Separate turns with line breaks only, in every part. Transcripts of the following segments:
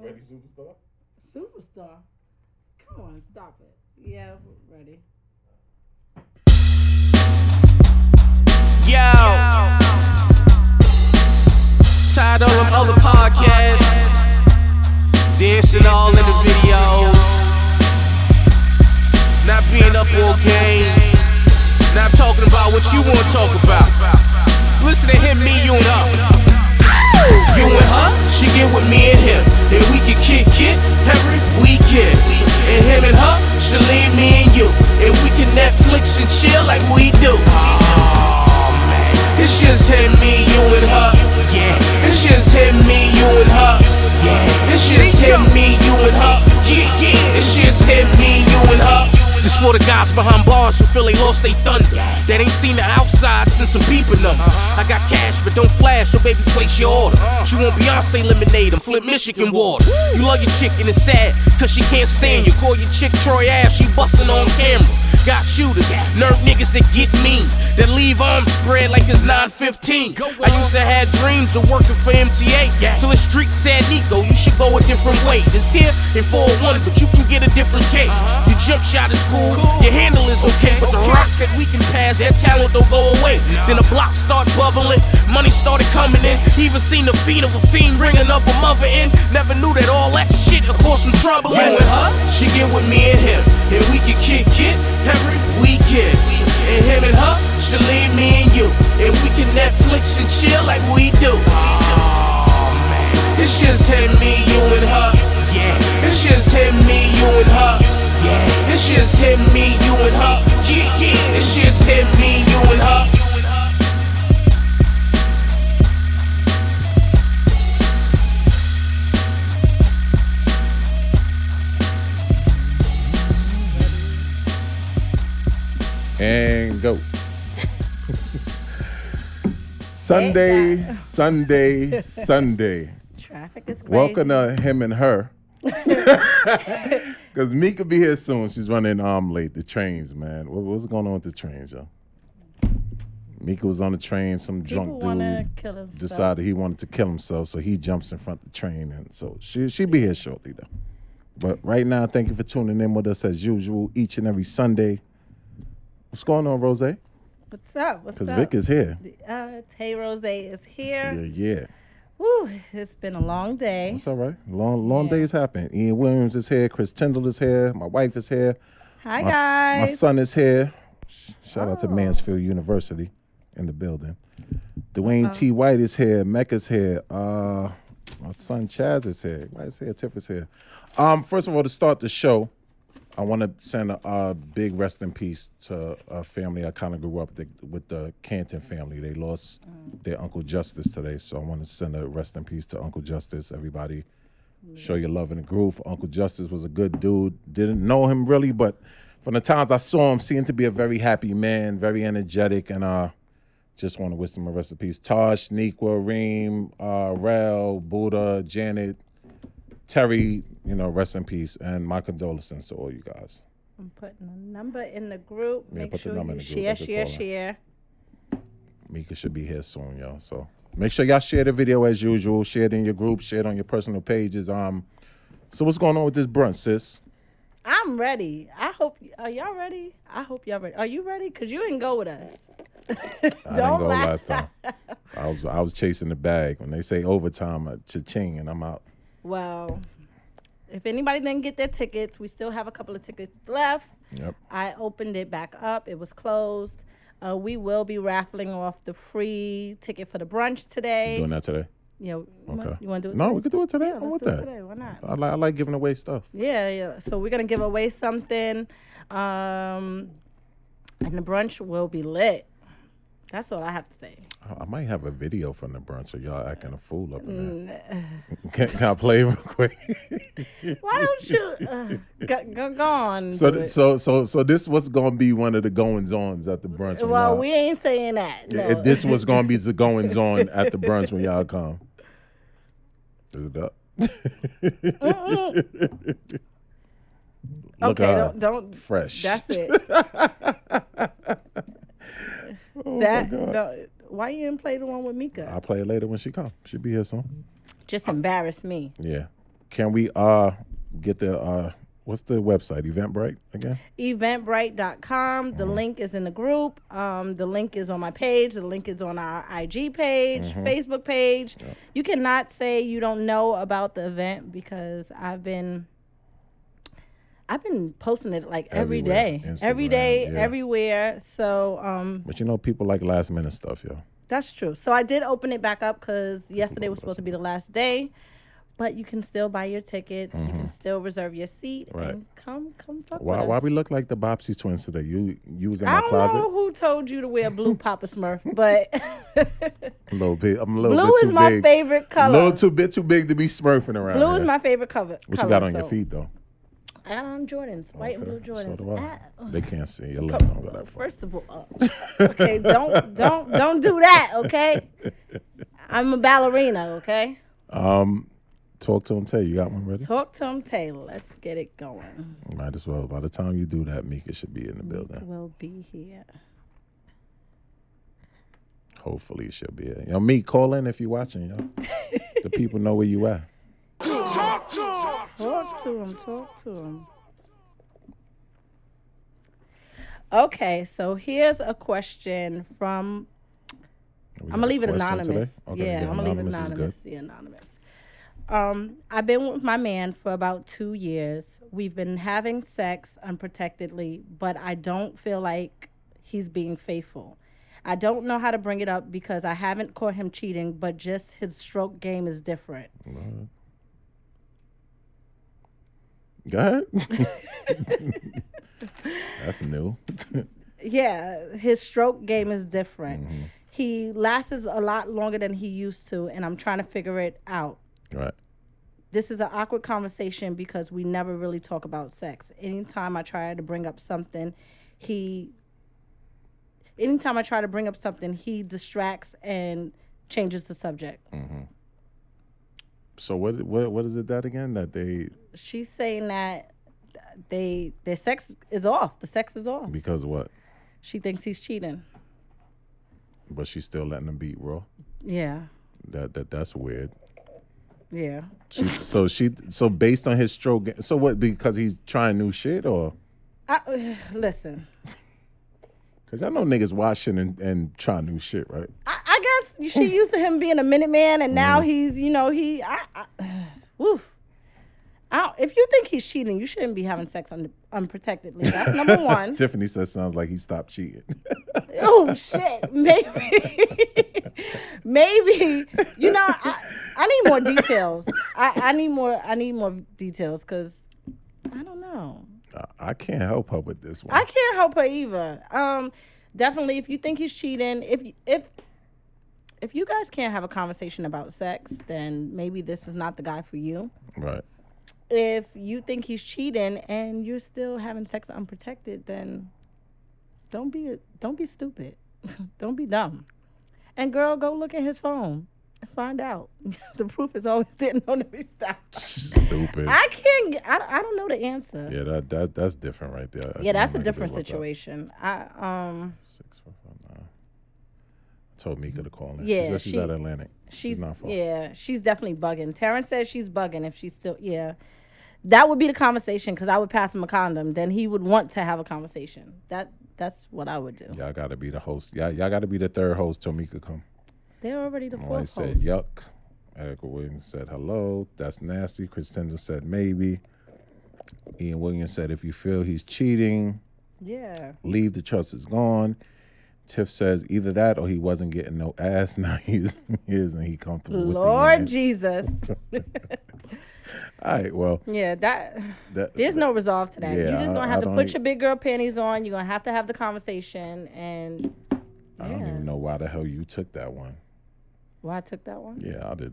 Ready, superstar?
Superstar. Come on, stop it. Yeah, we're ready.
Yo. Tired of them other podcasts. Dancing all in the videos. Not being up all game. Not talking about what you want to talk about. Listen to him, me, you, and her. You and her, she get with me and him. And we can kick it every weekend. And him and her, she leave me and you. And we can Netflix and chill like we do. Aw, man. It's just him, me, you and her. Yeah. It's just him, me, you and her. Yeah. It's just him, me, you and her. Yeah, yeah. It's just him, me, you and her. Just for the guys behind bars who feel they lost they thunder. That ain't seen the outside since I'm beeping them. I got cash, but don't flash, so baby, place your order. She want Beyonce lemonade and flip Michigan water. You love your chick and it's sad, cause she can't stand you. Call your chick Troy ass, she bustin' on camera. Got shooters, nerd niggas that get mean, that leave arms spread like it's 915. I used to have dreams of working for MTA, till the street said, Nico, you should go a different way. This here in 401, but you can get a different cake. Your jump shot is cool, your handle is okay, but the rock that we can pass, that talent don't go away. Then the block start bubbling, money started coming in. Even seen the fiend of a fiend bringing up a mother in. Never knew that all that shit would cause some trouble. You and her, she get with me and him, and we can kick it every weekend. And him and her, she leave me and you, and we can Netflix and chill like we do. It's just him, me, you and her. Yeah. It's just him, me, you and her. Yeah. It's just him, me, you and her. Yeah, yeah. It's just him, me, you and her.
And go. Sunday, Sunday, Sunday.
Traffic is great.
Welcome to him and her. Cause Mika be here soon. She's running um late. The trains, man. What, what's going on with the trains, yo? Mika was on the train. Some
People
drunk
want to
dude
kill themselves.
decided he wanted to kill himself, so he jumps in front of the train, and so she she be here shortly though. But right now, thank you for tuning in with us as usual, each and every Sunday. What's going on, Rose?
What's up? What's
Cause
up?
Vic is here.
Uh, Tay Rose is
Yeah,
here.
yeah.
Woo, it's been a long day.
It's all right. Long long days happen. Ian Williams is here. Chris Tyndall is here. My wife is here.
Hi,
My, s- my
guys.
son is here. Sh- Shout out to
Oh.
Mansfield University in the building. Dwayne
Uh-huh.
T. White is here. Mecca's here. Uh, my son Chaz is here. Why is here? Tiff is here. Um, first of all, to start the show, I want to send a, uh big rest in peace to a family I kind of grew up th- with the Canton family. They lost
Mm.
their Uncle Justice today, so I want to send a rest in peace to Uncle Justice. Everybody, show your love in the groove. Uncle Justice was a good dude. Didn't know him really, but from the times I saw him, seemed to be a very happy man, very energetic, and uh, just want to wish them a rest in peace. Tosh, Nequa, Reem, uh, Rel, Buddha, Janet, Terry. You know, rest in peace, and my condolences to all you guys.
I'm putting a number in the group.
Yeah,
Make
put the
sure
number in
you
the group.
share,
That's a
share,
caller.
share.
Mika should be here soon, y'all. So make sure y'all share the video as usual. Share it in your group. Share it on your personal pages. Um, so what's going on with this brunch, sis?
I'm ready. I hope are y'all ready? I hope y'all ready. Are you ready? Cause you didn't go with us.
I
Don't
didn't go
laugh.
last time. I was I was chasing the bag. When they say overtime, I cha-ching, and I'm out.
Well, if anybody didn't get their tickets, we still have a couple of tickets left.
Yep.
I opened it back up. It was closed. Uh, we will be raffling off the free ticket for the brunch today.
Doing that today.
you know, you
Okay.
want- you want to do it?
No,
today?
we could do it today.
Yeah,
I'm
let's
with
do it
that. Uh,
today. Why not?
I, li- I like giving away stuff.
Yeah, yeah. So we're gonna give away something, um, and the brunch will be lit. That's all I have to say.
I, I might have a video from the brunch of y'all acting a fool up in there.
Mm,
Can, can I play real quick?
Why don't you uh, go, go, go on?
so
do
th-
it.
so so so this was gonna be one of the goings ons at the brunch. when
well,
y'all-
we ain't saying that. No.
If this was gonna be the goings on at the brunch when y'all come. Is it up? Look uh,
okay,
at her.
don't don't.
fresh.
That's it.
Oh my
that
God. Uh,
don't, why you didn't play the one with Mika?
I'll play it later when she comes. She'll be here soon.
Just embarrass me.
Yeah. Can we uh get the uh what's the website? Eventbrite again?
eventbrite.com.
Mm-hmm.
The link is in the group. Um, the link is on my page. The link is on our IG page,
Mm-hmm.
Facebook page. You cannot say you don't know about the event because I've been I've been posting it like every
Everywhere.
day, every
Instagram,
day,
yeah.
everywhere. So um,
But you know, people like last minute stuff, yo.
that's true. So I did open it back up because yesterday was supposed to be the last day. But you can still buy your tickets. You can still reserve your seat
Mm-hmm. Right.
and come, come fuck
Why
with
why
us.
we look like the Bobsey twins today? You you was in
I
my
don't
closet.
know who told you to wear blue Papa Smurf, but
A little bit. I'm a little
blue
bit too
is my
big.
favorite
A
color.
little too bit too big to be smurfing around.
blue is
here.
my favorite color.
What
color,
you got on your
so-
feet though?
I got on Jordans, white and blue
Okay, So
Jordans.
do I.
Ah,
They can't see. Your left don't go that far.
First of all, okay, don't don't don't do that, okay? I'm a ballerina, okay?
Talk to them. Tell you, you got one ready.
Talk to him, Taylor. Let's get it going.
Might as well. By the time you do that, Mika should be in the
Mm-hmm.
building.
We'll be here.
Hopefully, she'll be here. Yo, me, call in if you're watching, yo. the people know where you at.
Talk to him. Talk to him. Okay, so here's a question from.
We
I'm
got a
gonna leave it
question
anonymous.
today? Okay,
yeah,
good.
I'm gonna leave it
is good.
anonymous. Yeah, anonymous. Um, I've been with my man for about two years. We've been having sex unprotectedly, but I don't feel like he's being faithful. I don't know how to bring it up because I haven't caught him cheating, but just his stroke game is different.
Go ahead. That's new.
Yeah, his stroke game is different. He lasts a lot longer than he used to, and I'm trying to figure it out.
right.
This is an awkward conversation because we never really talk about sex. Anytime I try to bring up something, he. Anytime I try to bring up something, he distracts and changes the subject.
So what what what is it that again that they
She's saying that they their sex is off. The sex is off.
because of what?
She thinks he's cheating.
But she's still letting them beat raw.
Yeah,
That that that's weird.
yeah.
She, so she so based on his stroke. So what? Because he's trying new shit or?
I, listen.
Cause I know niggas watching and, and trying new shit, right?
I, I guess she used to him being a Minuteman, and now he's, you know, he, I, I woo. I don't, if you think he's cheating, you shouldn't be having sex un, unprotectedly. That's number one.
Tiffany says sounds like he stopped cheating.
oh shit, maybe, maybe, you know, I, I need more details. I, I need more. I need more details because I don't know.
I, I can't help her with this one.
I can't help her either. Um, definitely, if you think he's cheating, if if if you guys can't have a conversation about sex, then maybe this is not the guy for you.
right.
If you think he's cheating and you're still having sex unprotected, then don't be don't be stupid, don't be dumb. And girl, go look at his phone and find out. the proof is always there. No, to be stopped.
Stupid.
I can't. get- I I don't know the answer. Yeah,
yeah, that, that that's different right there. I think
that's
I
a
might
different
do with that.
situation. I um.
Six four five nine. I told Mika to call in. she
Yeah,
said she's
she-
at Atlantic.
She's
not far.
yeah, she's definitely bugging. Terrence says she's bugging if she's still yeah. That would be the conversation because I would pass him a condom. Then he would want to have a conversation. That that's what I would do.
Y'all gotta be the host. Y'all, y'all gotta be the third host till Mika come.
They're already the
Well, I
fourth
said
host.
yuck. Erica Williams said hello. That's nasty. Chris Tindall said maybe. Ian Williams said if you feel he's cheating,
Yeah,
leave the trust is gone. Tiff says either that or he wasn't getting no ass. Now he's he is and he comfortable with the
Lord
units.
Jesus.
All right, well
yeah, that
that,
there's no resolve to that.
Yeah,
You're just
I-
gonna
I
have to
don't
put
e-
your big girl panties on. You're gonna have to have the conversation. And
I don't even know why the hell you took that one.
why I took that one?
Yeah, I did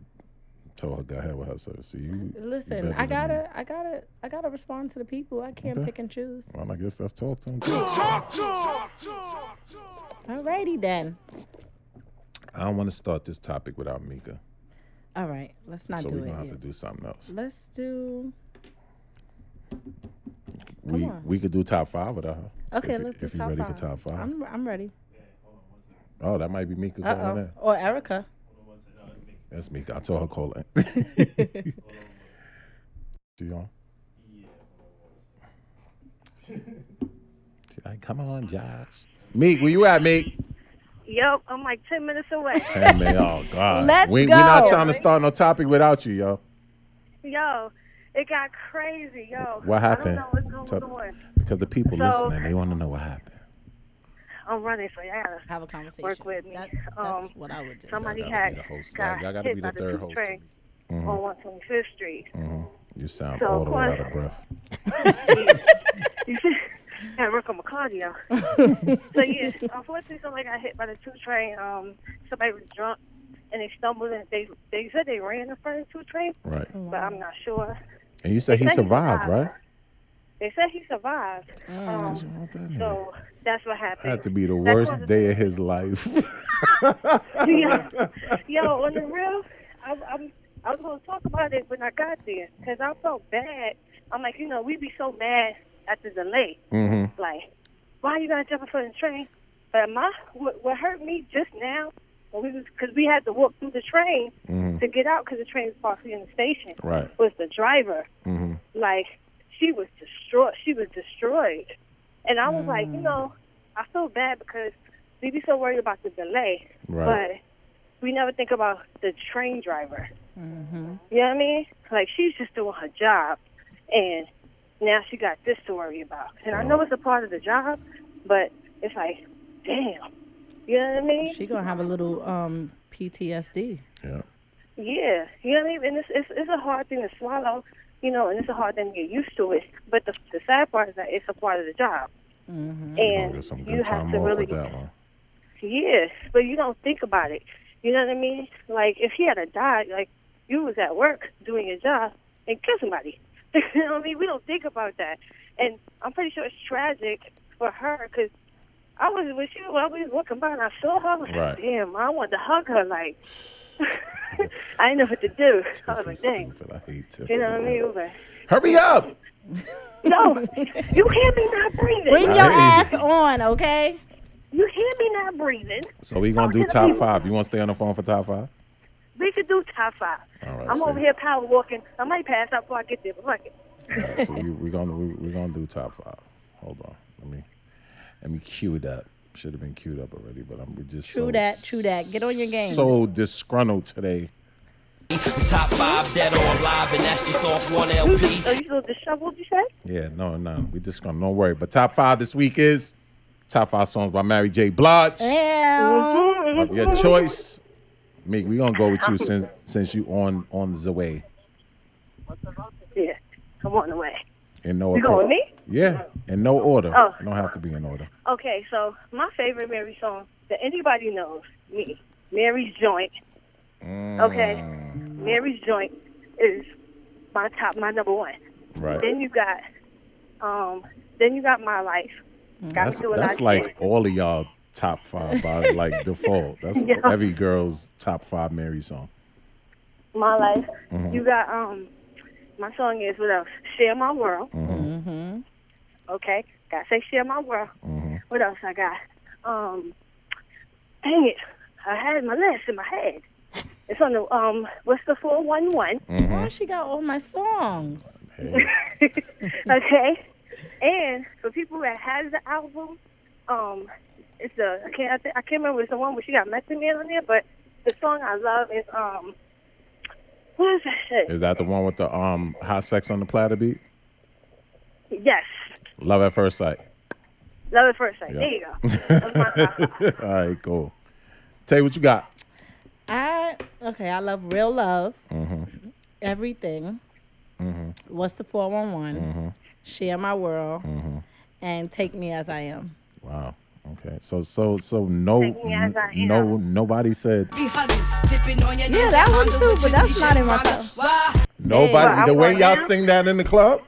told her go ahead with her service. So you better
Listen,
than
I
me.
gotta, I gotta, I gotta respond to the people. I can't pick and choose.
Well, I guess that's talk to him. too.
Alrighty then.
I don't want to start this topic without Mika.
All right, let's not
So
do
we're
it.
gonna have
yet.
to do something else.
Let's do.
we
Mm, on.
we could do top five without her.
Okay,
if,
let's do
if
top
you ready
five.
for top 5
I'm I'm ready.
Oh, that might be Mika
Uh
calling
oh.
in.
Or Erica.
That's Mika. I told her call in. Do you on? She like, come on, Josh. Meek, where you at, Meek?
Yep, I'm like 10 minutes away.
Hey, man, oh, God.
Let's
we, We're not
go.
trying to start no topic without you, yo.
yo, it got crazy. Yo,
What happened?
I don't know what's going
Tell-
on.
Because the people
So-
listening, they want to know what happened.
I'm running, so yeah.
Have a conversation.
Work with me.
That-
Um,
that's what I would do.
Somebody
gotta
had
be the host.
got
Y'all gotta
hit
be
by
the third Mm-hmm.
two
host.
train on 125th Street.
You sound
So,
all the way
of
out of breath. Mm.
You see, I work on my cardio. so yeah, unfortunately, somebody got hit by the two train. Um, somebody was drunk and they stumbled and they they said they ran in front of the two train,
Right.
but I'm not sure.
And you said he
They said he
survived, right?
They said he survived. Um,
What the hell?
so that's what happened.
Had to be the
That's
worst
what-
day of his life.
yeah. Yo, on the real, I, I'm, I was going to talk about it when I got there because I felt bad. I'm like, you know, we be so mad at the delay.
Mhm.
Like, why you got to jump in front of the train? But my what, what hurt me just now, because we, was- 'cause we had to walk through the train to get out because the train was partially in the station,
Right. Mm-hmm.
was the driver. Like, she was destroyed. She was destroyed. And I was like, you know, I feel bad because we be so worried about the delay.
Right.
But we never think about the train driver. You know what I mean? Like she's just doing her job, and now she got this to worry about. And I know it's a part of the job, but it's like, damn. You know what I mean?
She gonna have a little um PTSD.
Yeah.
Yeah. You know what I mean? And it's, it's it's a hard thing to swallow, you know, and it's a hard thing to get used to it. But the the sad part is that it's a part of the job,
I'll
and
get some
you
good
have
time
to
off
really
with that one.
Yes, but you don't think about it. You know what I mean? Like if he had a died, like you was at work doing your job and kill somebody. you know what I mean? We don't think about that, and I'm pretty sure it's tragic for her because I was with you. I was walking by and I saw her. I was like,
Right.
Damn, I wanted to hug her. Like I didn't know what to do. I was
Tiffany's
like, dang.
stupid. I hate Tiffany.
You know what I mean? But,
Hurry up!
no, you hear me not breathing.
Bring
I
your
hear you.
ass on, okay?
You hear me not breathing.
So we gonna do top five. You wanna stay on the phone for top five?
We could do top five.
All right,
I'm
see.
over here power walking. I might pass out before I get there, but fuck it.
Alright, so we, we're gonna we, we're gonna do top five. Hold on, let me let me cue it up. Should have been queued up already, but I'm we just
True
so,
that, true that. Get on your game.
So Mm-hmm. disgruntled today.
Top five dead or alive, and that's just off one LP.
Are Oh, you still disheveled, you said?
Yeah, no, no, we disgruntled. Don't worry. But top five this week is top five songs by Mary J. Blige.
Yeah.
Of your choice. Meek, we gonna go with you since since you on on the way.
Yeah. I'm on the way.
In no
You going
appro-
with me?
Yeah, in no order.
Oh.
It don't have to be in order.
Okay, so my favorite Mary song that anybody knows, me, Mary's Joint.
Mm.
Okay. Mary's Joint is my top, my number one.
Right.
Then you got, um, then you got My Life. Got
That's
me doing
that's
I
like
Did.
all of y'all top five by like default. That's
Yeah.
every girl's top five Mary song.
My Life. You got, um, my song is, what else? Share My World.
Mm-hmm.
Okay, gotta say share my world. What else I got? Um, dang it, I had my list in my head. It's on the um, what's the four one one?
Why she got all my songs?
Hey,
Okay, and for people that has the album, um, it's the I can't I, think, I can't remember it's the one where she got Method Man on there, but the song I love is um, what is that shit?
is that the one with the um hot sex on the platter beat?
yes,
Love at first sight.
Love at First Sight.
Yeah.
There you go. That's my top five.
All right, cool. Tell you what you got.
I okay. I love real love.
Mm-hmm.
Everything. What's the four one
Mm-hmm.
one? Share my world and take me as I am.
Wow. Okay. So so so no
Take me as I am.
no nobody said
Yeah, that one too, but that's not in my top.
nobody
Well,
the
I'm
way
going
y'all
now.
sing that in the club?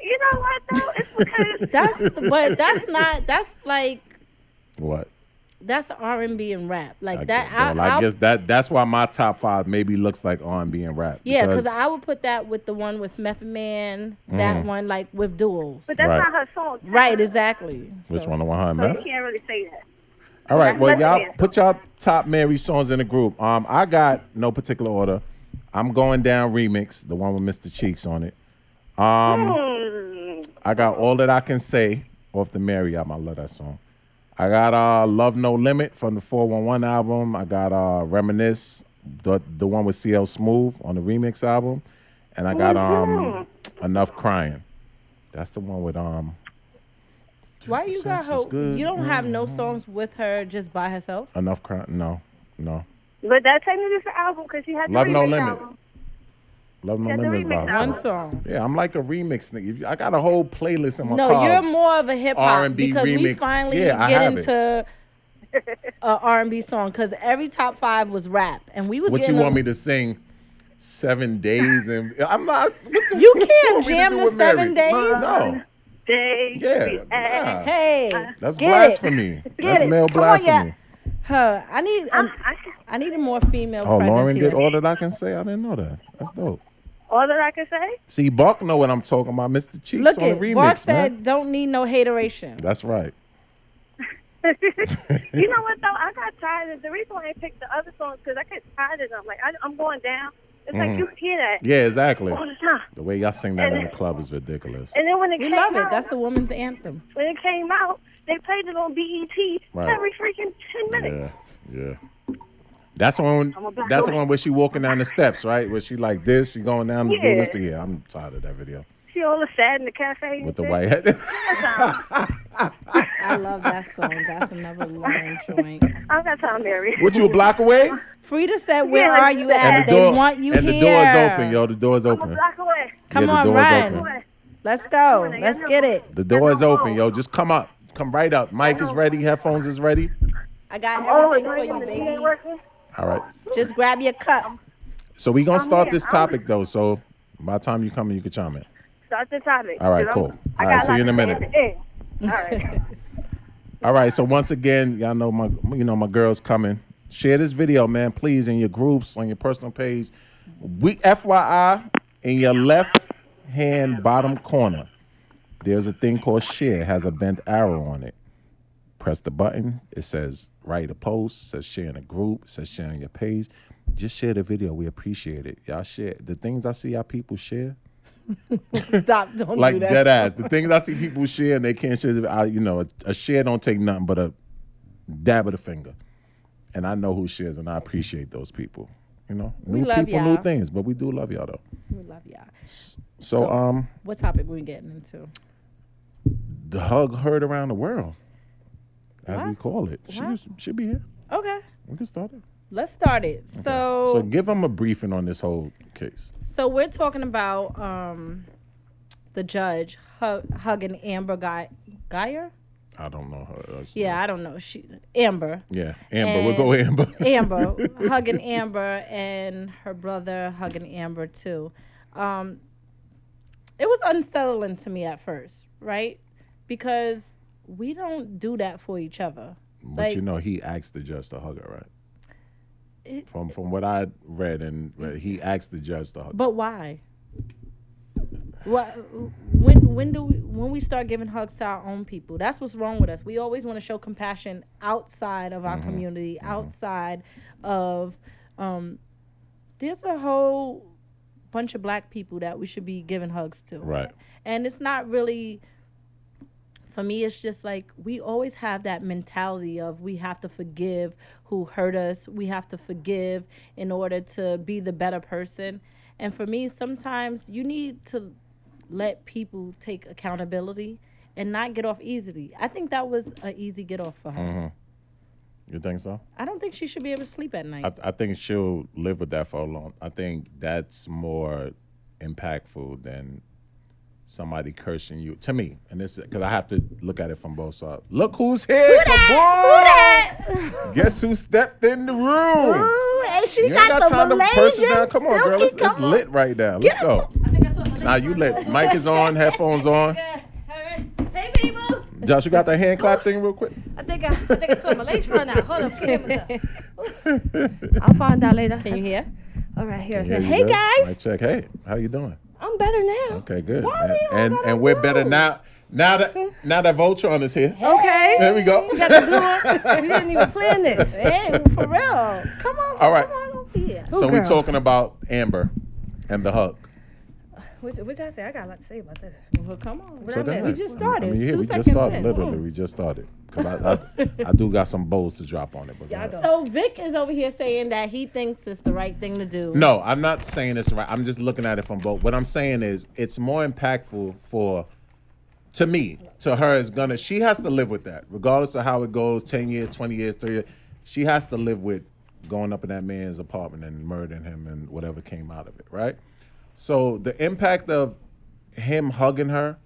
You know what though? It's because.
That's but that's not. That's like
What?
that's R and B and rap like
I,
that.
guess-
I,
well, I
I'll-
guess that that's why my top five maybe looks like R and B and rap.
yeah, because I would put that with the one with Method Man.
Mm-hmm.
That one like with duels.
But that's
Right.
not her song.
Right, exactly.
which
So-
one the one hundred
So you
man?
can't really say that.
All right, well,
That's
y'all
it.
put y'all top Mary songs in the group. Um, I got no particular order. I'm going down remix, the one with Mr. Cheeks on it. Um,
Mm,
I got all that I can say off the Marriott. I love that song. I got uh Love No Limit from the 411 album. I got uh Reminisce, the the one with CL Smooth on the remix album, and I got um Enough Crying. That's the one with um
Why you got
Sex
her?
is good. Mm-hmm.
You don't have no songs with her just by herself.
Enough Crying. No, no.
but that technically is an album because she had the
Love No
remix
Limit.
album.
Love No
That's a
Limit is
remix
by
One
herself.
album.
song.
Yeah, I'm like a remix nigga. If you- I got a whole playlist in my
No,
car.
you're more of a hip hop
R&B
because we
remix.
finally
Yeah, I
get
have it.
into a R&B song because every top five was rap and we was
what you
getting.
want
a-
me to sing? Seven days and I'm not. What the,
You
what
can't
want me
jam
do
the
with
seven
Mary?
days?
No,
Day.
yeah, nah.
Hey,
that's
get it.
blasphemy.
Get
that's
it.
male
Come on, yeah.
blasphemy.
Huh, I need um,
I,
I needed more female
Oh,
presence
Lauren
here.
did all that I can say. I didn't know that. That's dope.
all that I can say.
See, Buck know what I'm talking about. Mr. Cheeks
Look
on the
at
remix,
Mark
man.
said, "Don't need no hateration."
That's right.
You know what though? I got tired of the reason why I picked the other songs because I got tired of them. Like I, I'm going down. It's like you hear that
Mm-hmm. Yeah, exactly.
all the time.
The way y'all sing that in
Oh, And-
the club is ridiculous.
And then when it
We
came
love it.
out,
That's the woman's anthem.
when it came out, they played it on BET
Right.
every freaking ten minutes.
Yeah, yeah. That's the one.
I'm a black
That's the
woman.
one where she walking down the steps, right? Where she like this, she going down the doing
Yeah.
this. Yeah, I'm tired of that video
See all the sad in the cafe and
with the
shit.
white hat.
I love that song. That's another Lauren joint.
I got time, Mary.
what you a block away?
Frida said, "Where
Yeah,
are you
yeah.
at?
And the
they
door
want you
and
here."
the door is open, yo. The door is
I'm a
open.
block away.
Come
yeah, the
on,
door is
run.
open.
Away.
Let's go.
Come on,
Let's
I know.
get it.
The door is
Hello.
open, yo. Just come up. Come right up. Mic is ready. Headphones is ready.
I got
Oh,
everything for
you
you,
know, it ain't
baby.
working.
All right.
Just grab your cup.
So we gonna start
here.
this
I'm-
topic though. So by the time you come in, you can chime in.
Start the topic.
All right,
'cause I'm-
cool.
I
All right,
got
see you in a
lots to
minute.
say at the end. All right.
All right. So once again, y'all know my you know my girls coming. Share this video, man, please, in your groups, on your personal page. We FYI, in your left hand bottom corner, there's a thing called share. It has a bent arrow on it. Press the button. It says write a post. Says share in a group. Says share on your page. Just share the video. We appreciate it. Y'all share the things I see y'all people share
Stop. Don't do
like
that.
dead ass. The things I see people share and they can't share. I, you know, a, a share don't take nothing but a dab of the finger, and I know who shares, and I appreciate those people. You know, new
love
people,
y'all.
new things, but we do love y'all though.
We love y'all.
So, um,
What topic we getting into?
the hug heard around the world, as we
What?
call it. She
What?
was- should be here.
Okay,
We can start it.
let's start it.
So give them a briefing on this whole case.
So we're talking about um, the judge hug, hugging Amber Guy Geyer.
I don't know her. That's-
Yeah, I don't know. She Amber.
Yeah, Amber. we'll go
And-
Amber.
Amber hugging Amber and her brother hugging Amber too. Um, it was unsettling to me at first, right? Because we don't do that for each other.
But
Like-
you know, he asked the judge to hug her, right?
It-
from from what I read and read, he asked the judge to hug.
But why? What when when do we when we start giving hugs to our own people? That's what's wrong with us. We always want to show compassion outside of our community, outside of um there's a whole bunch of black people that we should be giving hugs to.
Right.
And it's not really for me it's just like we always have that mentality of we have to forgive who hurt us we have to forgive in order to be the better person and for me sometimes you need to let people take accountability and not get off easily i think that was an easy get off for her
Mm-hmm. You think so?
i don't think she should be able to sleep at night
I, I think she'll live with that for a long. I think that's more impactful than somebody cursing you to me. And this because I have to look at it from both sides. Look who's here! Who
that?
Guess who stepped in the room?
Ooh, and she
You ain't got time to person down. Come on, girl. It's, it's lit right now. Let's go. Now you lit. Mic is on. Headphones on.
Hey, people!
Josh, you got that hand clap thing real quick.
I think I, I think I saw my legs run out. Hold up, cameras up. I'll find out later.
Can you hear?
All right, here's
Yeah,
now.
you
Hey,
good?
guys!
Mic check. Hey, how you doing?
I'm better now.
Okay, good.
Why
And
we all
and,
gotta
and we're
go?
better now. Now that now that Voltron is here,
Okay.
there we go.
We got the blue one. We didn't even plan this.
Hey, for real. Come on.
All right.
Come on.
Yeah.
so we're
girl?
talking about Amber and the hug.
What what y'all say? I got a lot to say about this.
Well, come on.
What
So
I
that-
missed.
We just started.
I mean, yeah,
Two
we
seconds
just started.
in.
Literally, we just started. 'Cause I, I, I do got some bowls to drop on it. But go
Y'all
ahead.
go.
So Vic is over here saying that he thinks it's the right thing to do.
No, I'm not saying this right. I'm just looking at it from both. What I'm saying is it's more impactful for to me, to her is gonna she has to live with that, regardless of how it goes, ten years, twenty years, thirty years. She has to live with going up in that man's apartment and murdering him and whatever came out of it, right? So the impact of him hugging her,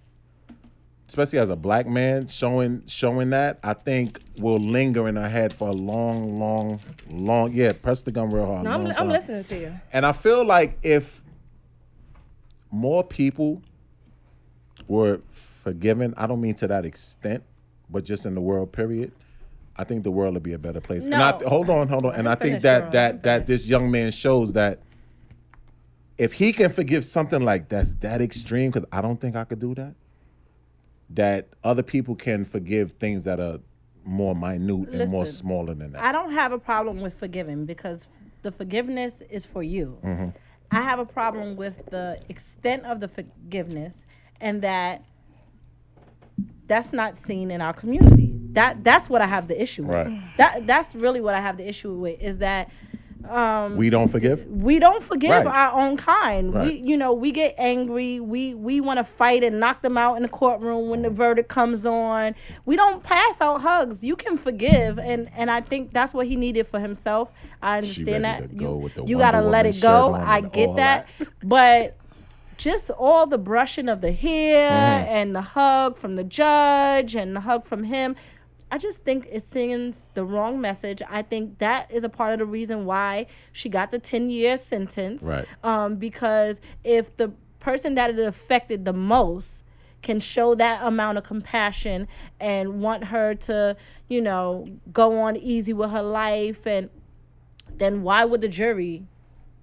especially as a black man, showing showing that, I think will linger in her head for a long, long, long yeah, press the gun real hard.
No, I'm,
long
I'm
time.
listening to you.
And I feel like if more people were forgiven, I don't mean to that extent, but just in the world, period, I think the world would be a better place. And I,
No.
hold on, hold on. And I think
finish,
that
Ron.
that that this young man shows that if he can forgive something like that's that extreme, because I don't think I could do that. That other people can forgive things that are more minute and more
Listen,
smaller than that.
I don't have a problem with forgiving because the forgiveness is for you.
Mm-hmm.
I have a problem with the extent of the forgiveness and that that's not seen in our community. That that's what I have the issue with.
Right.
That that's really what I have the issue with is that um,
we don't forgive.
we don't forgive
Right.
our own kind. We
Right.
you know, we get angry, we we want to fight and knock them out in the courtroom when the verdict comes on. We don't pass out hugs. You can forgive and and I think that's what he needed for himself. I
She
understand
ready
that.
to go
you
with the
you
Wonder
got to let
Woman
it go.
shirt on
I
and all
get that. But just all the brushing of the hair and the hug from the judge and the hug from him. I just think it sends the wrong message. I think that is a part of the reason why she got the 10 year sentence.
Right.
Um, because if the person that it affected the most can show that amount of compassion and want her to, you know, go on easy with her life, and then why would the jury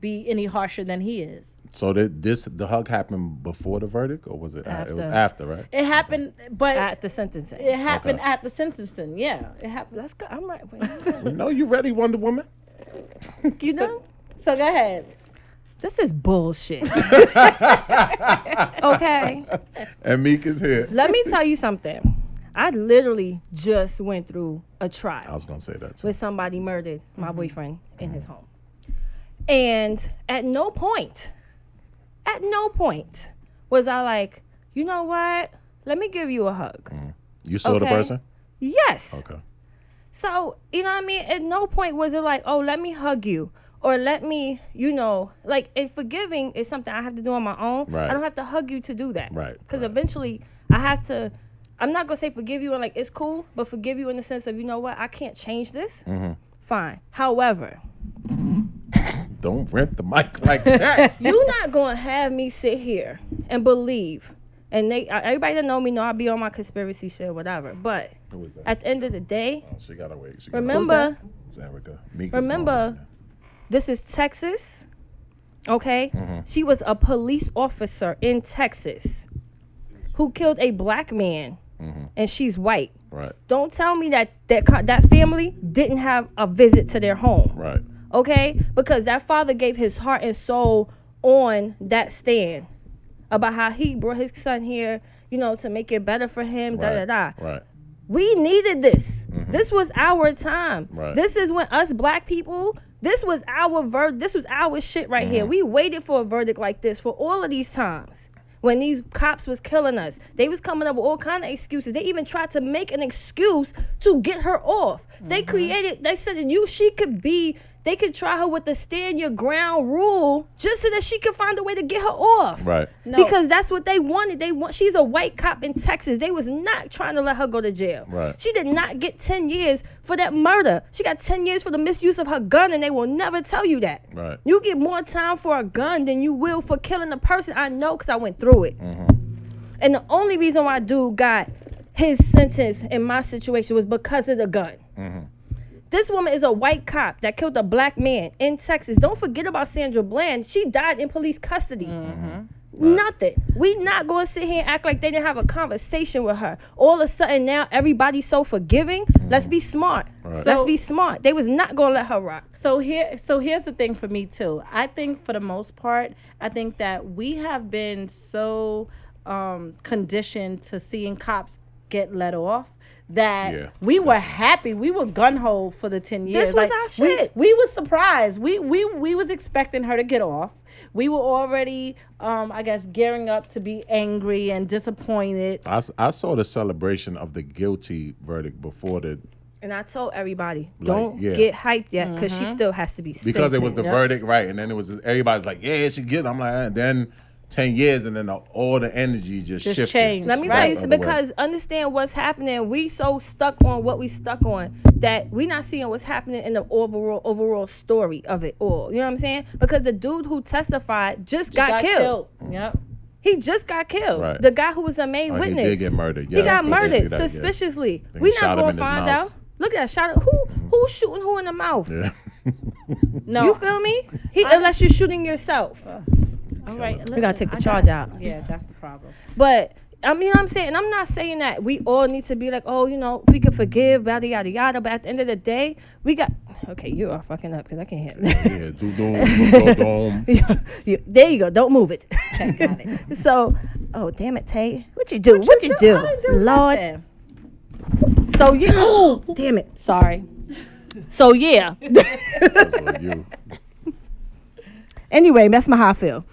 be any harsher than he is?
So did this the hug happened before the verdict or was it after. it was
After.
after, right?
It happened, but
At the sentencing.
it happened
Okay.
at the sentencing. Yeah, it happened.
Let's go. I'm right. Wait,
no, you ready, Wonder Woman?
you know,
So go ahead.
this is bullshit. okay.
And Meek is here.
Let me tell you something. I literally just went through a trial.
I was Mm-hmm. gonna say that too.
with somebody murdered my boyfriend in his home. And at no point, at no point was I like, you know what? Let me give you a hug.
Mm. You saw the
okay.
person?
Yes.
Okay.
So, you know what I mean? At no point was it like, oh, let me hug you or let me, you know, like, and forgiving is something I have to do on my own.
Right.
I don't have to hug you to do that.
Right,
Because
right.
eventually I have to, I'm not going to say forgive you and like, it's cool, but forgive you in the sense of, you know what? I can't change this.
Mm-hmm.
Fine. However,
Don't rent the mic like that.
you not gonna have me sit here and believe and they everybody that know me know i be on my conspiracy shit whatever but
Who is that?
at the end of the day
Oh, she gotta wait. She gotta
remember
wait. It's Erica. Meek is
remember
gone right
this is texas okay
Mm-hmm.
she was a police officer in texas who killed a black man
Mm-hmm.
and she's white
now. Right.
don't tell me that that co- that family didn't have a visit to their home
Right.
okay? Because that father gave his heart and soul on that stand about how he brought his son here, you know, to make it better for him, da
Right.
da da.
Right.
We needed this. This was our time.
Mm-hmm. Right.
This is when us black people, this was our ver this was our shit right
Mm-hmm.
here. We waited for a verdict like this for all of these times. When these cops was killing us, they was coming up with all kind of excuses. They even tried to make an excuse to get her off. They
Mm-hmm.
created. They said that you she could be. They could try her with the stand your ground rule, just so that she could find a way to get her off.
Right.
No.
Because that's what they wanted. They want she's a white cop in Texas. They was not trying to let her go to jail.
Right.
She did not get 10 years for that murder. She got 10 years for the misuse of her gun and they will never tell you that.
Right.
You get more time for a gun than you will for killing a person. I know cuz I went through it.
Mm-hmm.
And the only reason why dude got his sentence in my situation was because of the gun. This woman is a white cop that killed a black man in Texas. Don't forget about Sandra Bland. She died in police custody.
Mm-hmm.
Nothing. We not going to sit here and act like they didn't have a conversation with her. All of a sudden now everybody's so forgiving. Let's be smart.
right.
Let's be smart. They was not gonna let her rock.
So here, so here's the thing for me too. I think for the most part, I think that we have been so um, conditioned to seeing cops get let off that
Yeah,
we were happy. We were gun ho for the ten years.
was our
we-
shit.
We, was surprised. We we we was expecting her to get off. We were already, um, I guess, gearing up to be angry and disappointed.
I, s- I saw the celebration of the guilty verdict before the
And I told everybody,
Like,
don't
yeah.
get hyped yet, because she still has to be
because it was the
sentenced.
verdict, right? And then it was everybody's like, "Yeah, she get." I'm like, "Ah," and then ten years, and then the, all the energy just,
Just
shifted.
changed,
Let me
Right.
tell you, so because understand what's happening. We so stuck on what we stuck on that we not seeing what's happening in the overall overall story of it all. You know what I'm saying? Because the dude who testified just, got, killed.
Yep.
He just got killed.
Right.
The guy who was the main
Oh, he
witness.
did get murdered.
he
Yes,
got
I did see
murdered
that, yeah.
suspiciously.
Think
We
he
not
shot him
gonna
in his
find
mouth.
out. Look at that shot. Who who's shooting who in the mouth?
No.
You feel me? He unless you're shooting yourself.
All right.
We gotta take the
I
charge out.
Yeah, that's the problem.
But I mean, I'm saying, and I'm not saying that we all need to be like, oh, you know, we can forgive, yada yada yada. But at the end of the day, we got. Okay, you are fucking up because I can't hear.
yeah, do do do
You- there you go. Don't move it.
Got it.
so, oh damn it, Tay, what you do? What you, do?
I didn't do
Lord?
nothing.
So you. Oh, damn it. Sorry. So yeah.
you.
anyway, that's my how I feel.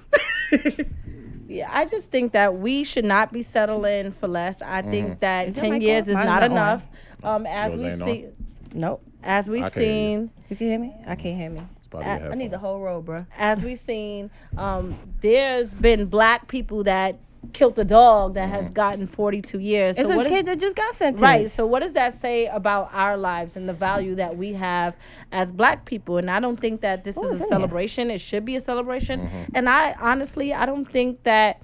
Yeah, I just think that we should not be settling for less. I think that
that
ten
my
years
call?
is
Mine's
not
not
enough. Um, as
Mm-hmm. Yours
we
ain't
see,
Nope.
as we
I can't hear you.
seen,
You can hear me? I can't hear me.
It's probably
I need the whole roll, bruh.
as we seen, um, there's been black people that killed a dog that
Mm-hmm.
has gotten 42 years. So
It's
what
a
is-
kid that just got sentenced.
Right. So, what does that say about our lives and the value that we have as Black people? And I don't think that this
is
is a
in there?
celebration. It should be a celebration.
Mm-hmm.
And I honestly, I don't think that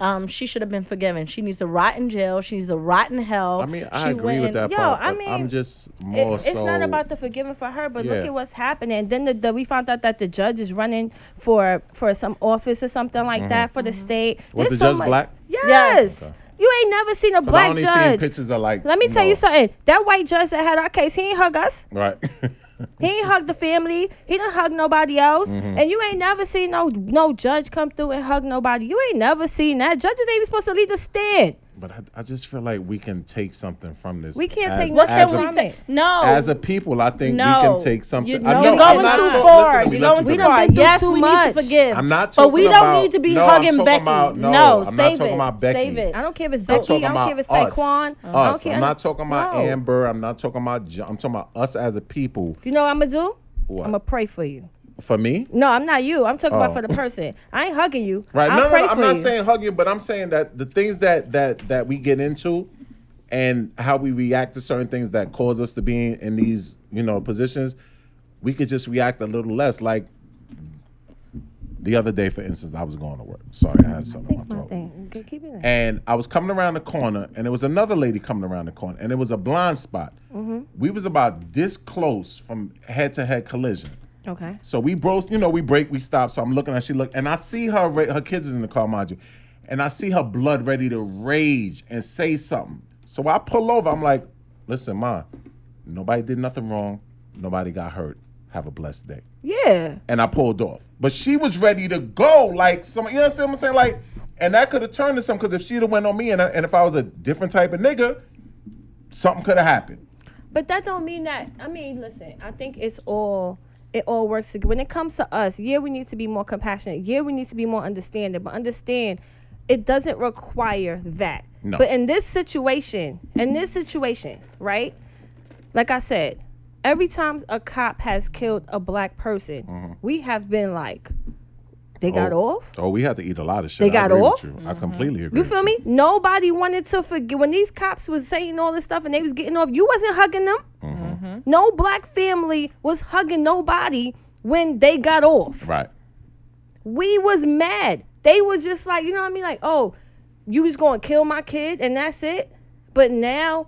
um, she should have been forgiven. She needs to rot in jail. She needs to rot in hell.
I mean, I
She
agree
went-
with that
Yo,
part.
I
but I'm
mean,
just
It-
more so.
it's not about the forgiving for her, but look
Yeah.
at what's happening. Then the, the, we found out that the judge is running for for some office or something like that for the state.
Mm-hmm. Was
There's
the
so
judge
much-
black?
Yes.
Okay.
You ain't never seen a
'Cause I
black
only seen
judge.
pictures of like.
Let me tell
know,
you something. That white judge that had our case, he ain't hug us.
Right.
He ain't hug the family. He didn't hug nobody else.
Mm-hmm.
And you ain't never seen no no judge come through and hug nobody. You ain't never seen that. Judges ain't even supposed to leave the stand.
but I, I just feel like we can take something from this.
We can't
as-
take
What
as
can
a-
we
a-
take? No.
As a people, I think we
no,
can take something.
You,
I
are
know, I'm
going
not
too
talk-
far.
listen to me,
You're
listen to
going too
me.
done
far.
been through
Yes,
too
we need
much.
to forgive.
I'm not
But
talking
we don't
about-
need to be
no, I'm
hugging
talking
Becky.
about- no,
no,
I'm not
save
talking
it.
about Becky.
Save it.
I don't care if it's
I'm
Becky. I
talking
don't care if it's
about us.
Saquon. I don't
Us.
care.
I'm not talking about
No.
Amber. I'm not talking about. Jo- I'm talking about us as a people.
You know what I'm gonna do?
What?
I'm gonna pray for you.
For me,
No, I'm not you. I'm talking
Oh.
about for the person. I ain't hugging you.
right?
I'll
no,
pray
no, no. I'm
for
not
you.
saying hug you, but I'm saying that the things that that that we get into, and how we react to certain things that cause us to be in these, you know, positions, we could just react a little less. Like the other day, for instance, I was going to work. Sorry, I had something in my
My
throat.
thing. Okay, Oh, Keep it in.
and I was coming around the corner, and there was another lady coming around the corner, and it was a blind spot.
Mm-hmm.
We was about this close from head to head collision.
Okay.
So we broke, you know, we break, we stop. So I'm looking at she look, and I see her. ra- Her kids is in the car, mind you, and I see her blood ready to rage and say something. So I pull over. I'm like, "Listen, ma, nobody did nothing wrong. Nobody got hurt. Have a blessed day."
Yeah.
and I pulled off. But she was ready to go. Like some, you know what I'm saying? Like, and that could have turned to something because if she'd have went on me, and, I, and if I was a different type of nigga, something could have happened.
But that don't mean that. I mean, listen. I think it's all. It all works together. When it comes to us, yeah, we need to be more compassionate. Yeah, we need to be more understanding. But understand, it doesn't require that.
No.
But in this situation, in this situation, right? Like I said, every time a cop has killed a black person, we have been like, they got off.
Mm-hmm. Oh, we had to eat a lot of shit.
They got
I agree
off? Mm-hmm.
With you. I completely agree.
You
with
feel me? Nobody wanted to forget when these cops was saying all this stuff and they was getting off. You wasn't hugging them.
Mm-hmm.
No black family was hugging nobody when they got off.
Right.
We was mad. They was just like, you know what I mean? Like, oh, you was gonna kill my kid and that's it. But now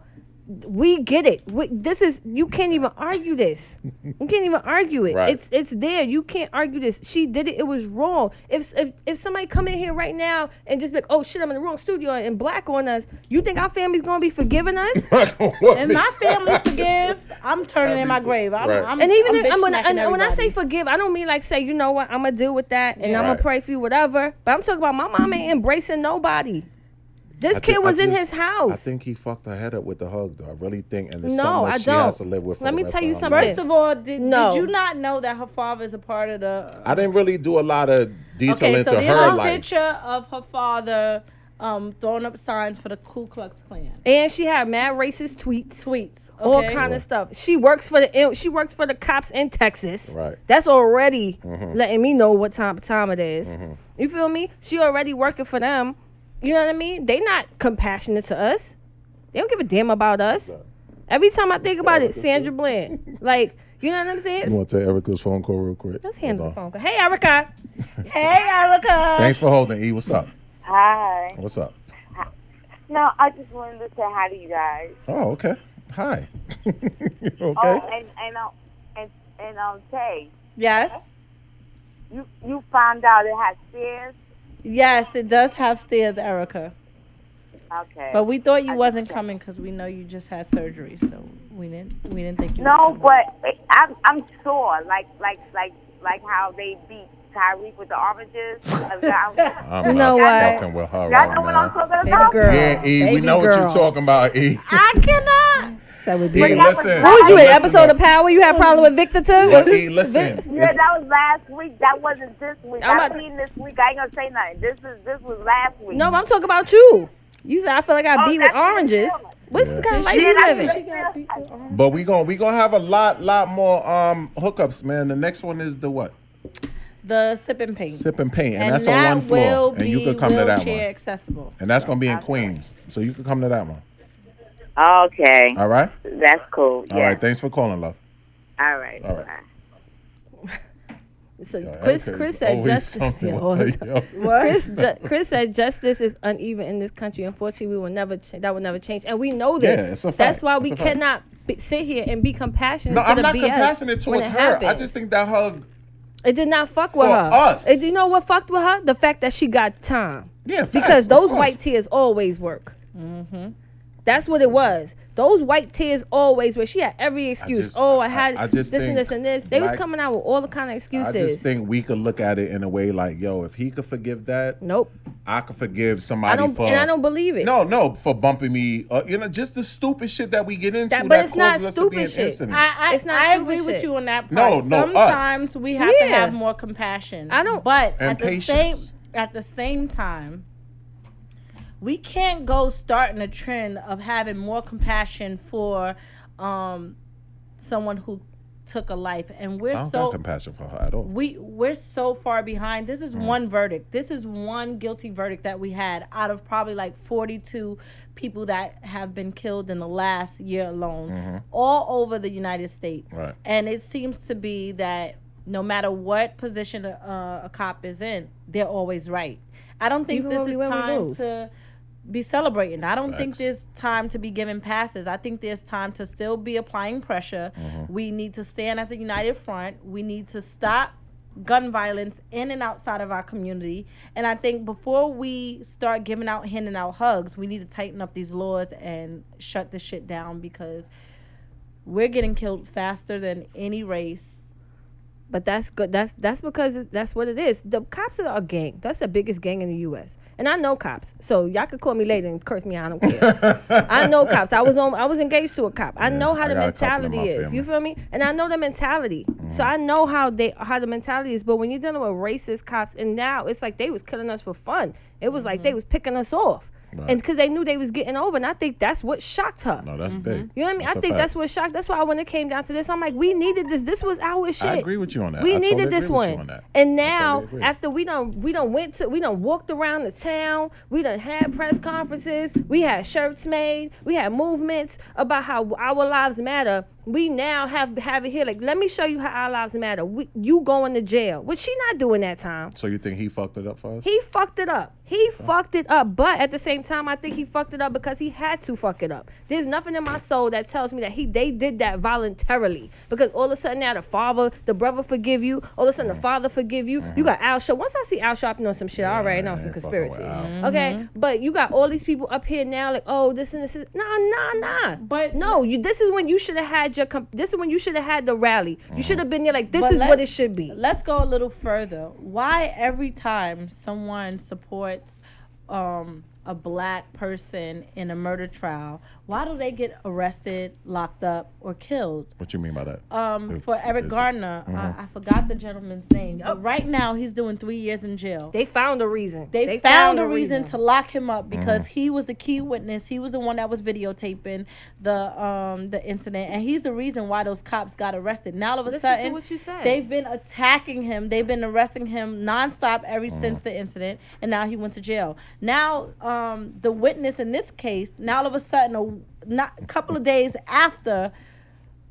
we get it. We, this is you can't even argue this. You can't even argue it.
Right.
It's it's there. You can't argue this. She did it. It was wrong. If if if somebody come in here right now and just be like, oh shit, I'm in the wrong studio and black on us, you think our family's gonna be forgiving us?
And my family forgive. I'm turning in my
Obviously.
grave. I'm,
Right.
I'm,
and
I'm
even if, and when,
bitch-smacking
and when I say
everybody.
forgive, I don't mean like say, you know what, I'm gonna deal with that and I'm
Right.
gonna pray for you, whatever. But I'm talking about my mom ain't embracing nobody. This
I
kid
think- I
was in
just-
his house.
I think he fucked her head up with the hug, though. I really think, and it's
No,
something that
I
she has to
don't.
live with. For
Let
the
me
rest
tell
of
you
her
something.
life.
First of all, did,
No.
did you not know that her father is a part of the?
I didn't really do a lot of detail
Okay,
into
so there's
her
a
life.
picture of her father um, throwing up signs for the Ku Klux Klan.
and she had mad racist tweets.
Tweets, okay?
All kind of stuff. She works for the she works for the cops in Texas.
Right.
That's already letting me know what time time it is. You feel me? She already working for them. You know what I mean? They not compassionate to us. They don't give a damn about us. Every time I think about it, Sandra Bland. like, you know what I'm
You
saying?
want to take Erica's phone call real quick?
Let's handle the
Hold on.
phone call. Hey Erica. hey Erica.
Thanks for holding, E. What's up?
Hi.
What's up?
No, I just wanted to say hi to you guys.
Oh, okay. Hi. okay.
Oh, and and
uh,
um, and and um, Tay,
Yes,
you you found out it has stairs.
yes, it does have stairs, Erica.
Okay.
But we thought you
I
wasn't
just-
coming because we know you just had surgery, so we didn't we didn't think you. was
oh,
no,
coming.
but I'm I'm sure, like like like like how they beat Tyreek with the oranges. Y'all
I'm
know
not
what?
fucking with her right
know what I'm
now.
talking about?
girl.
Yeah, E, we
Baby
know what you're
girl.
talking about, E.
I cannot. So we
E,
be
listen.
What was you in?
Listen
Episode
up.
of Power? You had a problem with Victor too?
Yeah, E, listen.
Yeah,
It's-
that was last week. That wasn't this week.
I'm
i
a-
seen this week. I ain't gonna say nothing. This is this was last week.
No, but I'm talking about you. You said I feel like I
Oh,
beat with
that's what I'm
oranges.
feeling.
What's the kind of life
Yeah,
you
that's
living?
what I'm feeling.
But we going we gonna have a lot lot more um hookups, man. The next one is the what?
the sip and paint,
Sip and paint, and, that's on
that
one floor,
will
and
be
you could come to that
wheelchair
one.
accessible.
And that's gonna be in Queens, so you could come to that one.
Okay,
All right.
that's cool. Yeah.
All right. Thanks for calling, love.
All right.
All right.
Bye.
So
Yeah,
Chris,
Erica's
Chris said
always
justice.
something
Yeah,
like,
always-
yo.
Chris, ju- Chris said justice is uneven in this country. Unfortunately, we will never cha- that will never change, and we know
Yeah,
this.
it's a fact.
That's why we
It's a fact.
cannot be, sit here and be compassionate
No,
to
I'm
the
not
BS
compassionate
when
towards
it
her. I
happened.
just think that hug.
it did not fuck with
for
her.
us.
It, you know what fucked with her? The fact that she got time.
Yeah. facts,
because
of
those
course. Mm-hmm.
white tears always work. That's what it was. Those white tears always were. She had every excuse.
just-
oh,
I-
I had
I just
this
think
and this and this. They was
black-
coming out with all the kind of
I
excuses.
just think we could look at it in a way like, yo, if he could forgive that,
nope.
I could forgive somebody
I don't
for.
and I don't believe it.
No, no, for bumping me. Uh, you know, just the stupid shit that we get into.
That- but
that
it's not
causes us to be
stupid
in
shit.
incidents.
I, I,
It's not
I
stupid
agree with
shit.
you on that part.
No, no, us.
Sometimes we have to
Yeah.
have more compassion.
I don't-
But
And
at the
patience.
same at the same time, we can't go starting a trend of having more compassion for um, someone who took a life, and we're
I don't got
so
compassion for her at all.
we we're so far behind. This
Mm.
is one verdict. This is one guilty verdict that we had out of probably like 42 people that have been killed in the last year alone
Mm-hmm.
all over the United States.
Right.
And it seems to be that no matter what position a, a cop is in, they're always right. I don't think
Even
this
when we
is
win, we
time
lose.
to be celebrating. I don't think
Facts.
there's time to be giving passes. I think there's time to still be applying pressure. We need to stand as a united front. We need to stop gun violence in and outside of our community. And I think before we start giving out handing out hugs, we need to tighten up these laws and shut this shit down because we're getting killed faster than any race.
But that's good. That's that's because it- that's what it is. The cops are a gang. That's the biggest gang in the U.S. And I know cops, so y'all could call me later and curse me. I don't care. I know cops. I was on. I was engaged to a cop. I know how
I
the
got a couple in
mentality
my
is. You
family. Mm-hmm.
feel me? And I know the mentality. So I know how they how the mentality is. But when you're dealing with racist cops, and now it's like they was killing us for fun. It was like they was picking us off,
Right.
and because they knew they was getting over. And I think that's what shocked her.
No, that's big.
Mm-hmm. You know what I mean? I
a
think
fact.
that's what shocked. That's why when it came down to this, I'm like, we needed this. This was our shit.
agree with you on that.
We
I totally
needed this
agree with you
one.
on that. I
And now,
totally agree.
after we done, we done went to, we done walked around the town. We done had press conferences. We had shirts made. We had movements about how our lives matter. we now have have it here. Like, let me show you how our lives matter. We, you going to jail, which she not doing that time.
So you think he fucked it up for us?
He fucked it up. He fucked it up. But at the same time, I think he fucked it up because he had to fuck it up. There's nothing in my soul that tells me that he they did that voluntarily. Because all of a sudden now the father, the brother forgive you. All of a
Mm-hmm.
sudden the father forgive you. You got Al Sharpton. Once I see Al Sharpton on some shit, I already know
I
it's some
ain't fucking with
conspiracy. Mm-hmm.
Al.
Okay, but you got all these people up here now, like oh this and this. And, nah, nah, nah.
But-
no, you. This is when you should have had your. Comp- this is when you should have had the rally.
Mm-hmm.
You should have been there. Like this
But
is what it
let's-
should be.
Let's go a little further. Why every time someone supports um, a black person in a murder trial, why do they get arrested, locked up, or killed?
What you mean by that?
Um,
If-
for Eric
is it- Mm-hmm.
Garner, I, I forgot the gentleman's name, but right now he's doing three years in jail.
They found a reason.
They, found, a reason, to lock him up because he was the key witness. He was the one that was videotaping the um the incident, and he's the reason why those cops got arrested. Now all of a
Listen to
sudden,
what you said.
they've been attacking him. They've been arresting him nonstop ever since the incident, and now he went to jail. Now um the witness in this case, now all of a sudden, a not couple of days after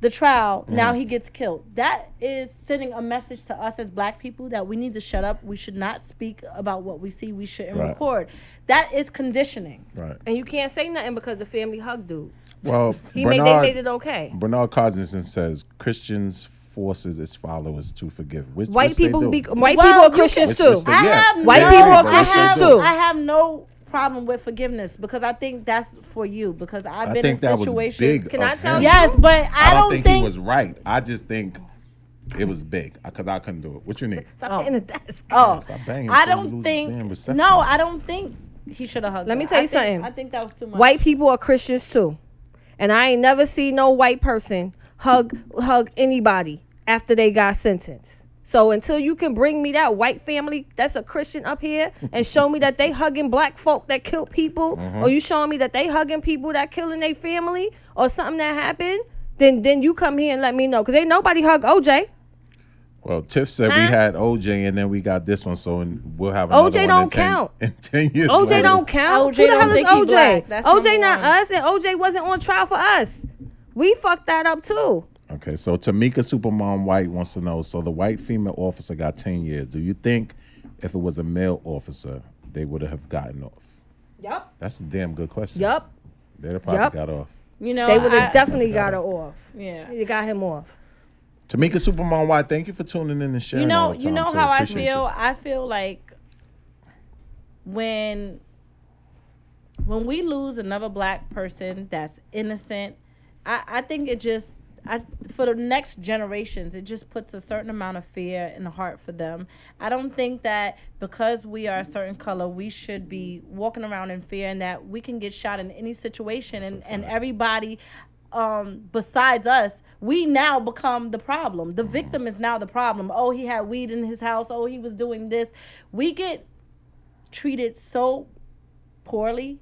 the trial,
Mm.
now he gets killed. That is sending a message to us as black people that we need to shut up. We should not speak about what we see. We shouldn't
Right.
record. That is conditioning.
Right.
And you can't say nothing because the family hug dude.
Well,
He made, they
Bernard,
made it okay.
Bernard Cognizant says Christians forces its followers to forgive. Which,
White
which they
people
do.
be white
Well,
people are
you
Christians
Which- which
too.
they-
I
yeah,
have
White
they
no-
do,
people are
but
I
which they
Christians
have-
do.
too.
I have no problem with forgiveness because I think that's for you because I've
I
been
think
in
that was
situations.
big.
Can
of
I tell
him.
you?
Yes, but I,
I don't, think,
think,
he was right. I just think it was big because I couldn't do it. What you need?
Stop hitting the desk.
Oh,
Stop banging.
I
before you
don't
lose damn
think.
reception.
No, I don't think he should have hugged.
Let me
her.
tell
I
you
think-
something.
I think that was too much.
White people are Christians too. And I ain't never seen no white person hug hug anybody after they got sentenced. So until you can bring me that white family that's a Christian up here and show me that they hugging black folk that kill people,
Mm-hmm.
or you showing me that they hugging people that killing their family or something that happened, then then you come here and let me know. Cause ain't nobody hug OJ.
Well, Tiff said we
Huh?
had OJ and then we got this one, so and we'll have another
OJ
one in
don't
10
count.
In ten years,
OJ
later.
don't count.
OJ
Who the
don't
hell is
think he
OJ?
black. That's
OJ
number
not
one.
us, and OJ wasn't on trial for us. We fucked that up too.
Okay, so Tamika Supermom White wants to know: so the white female officer got ten years. Do you think if it was a male officer, they would have gotten off?
Yup.
That's a damn good question.
Yup.
They'd have probably
Yup.
got off.
you know,
They would have
I-
definitely got her off.
Yeah.
You got him off.
Tamika Supermom White, thank you for tuning in and sharing.
you
all
know
the
you
time,
know
too.
how i
Appreciate you.
feel i feel like when when we lose another black person that's innocent i i think it just I, for the next generations, it just puts a certain amount of fear in the heart for them. I don't think that because we are a certain color, we should be walking around in fear and that we can get shot in any situation. And, and everybody um besides us we now become the problem the victim is now the problem oh he had weed in his house oh he was doing this we get treated so poorly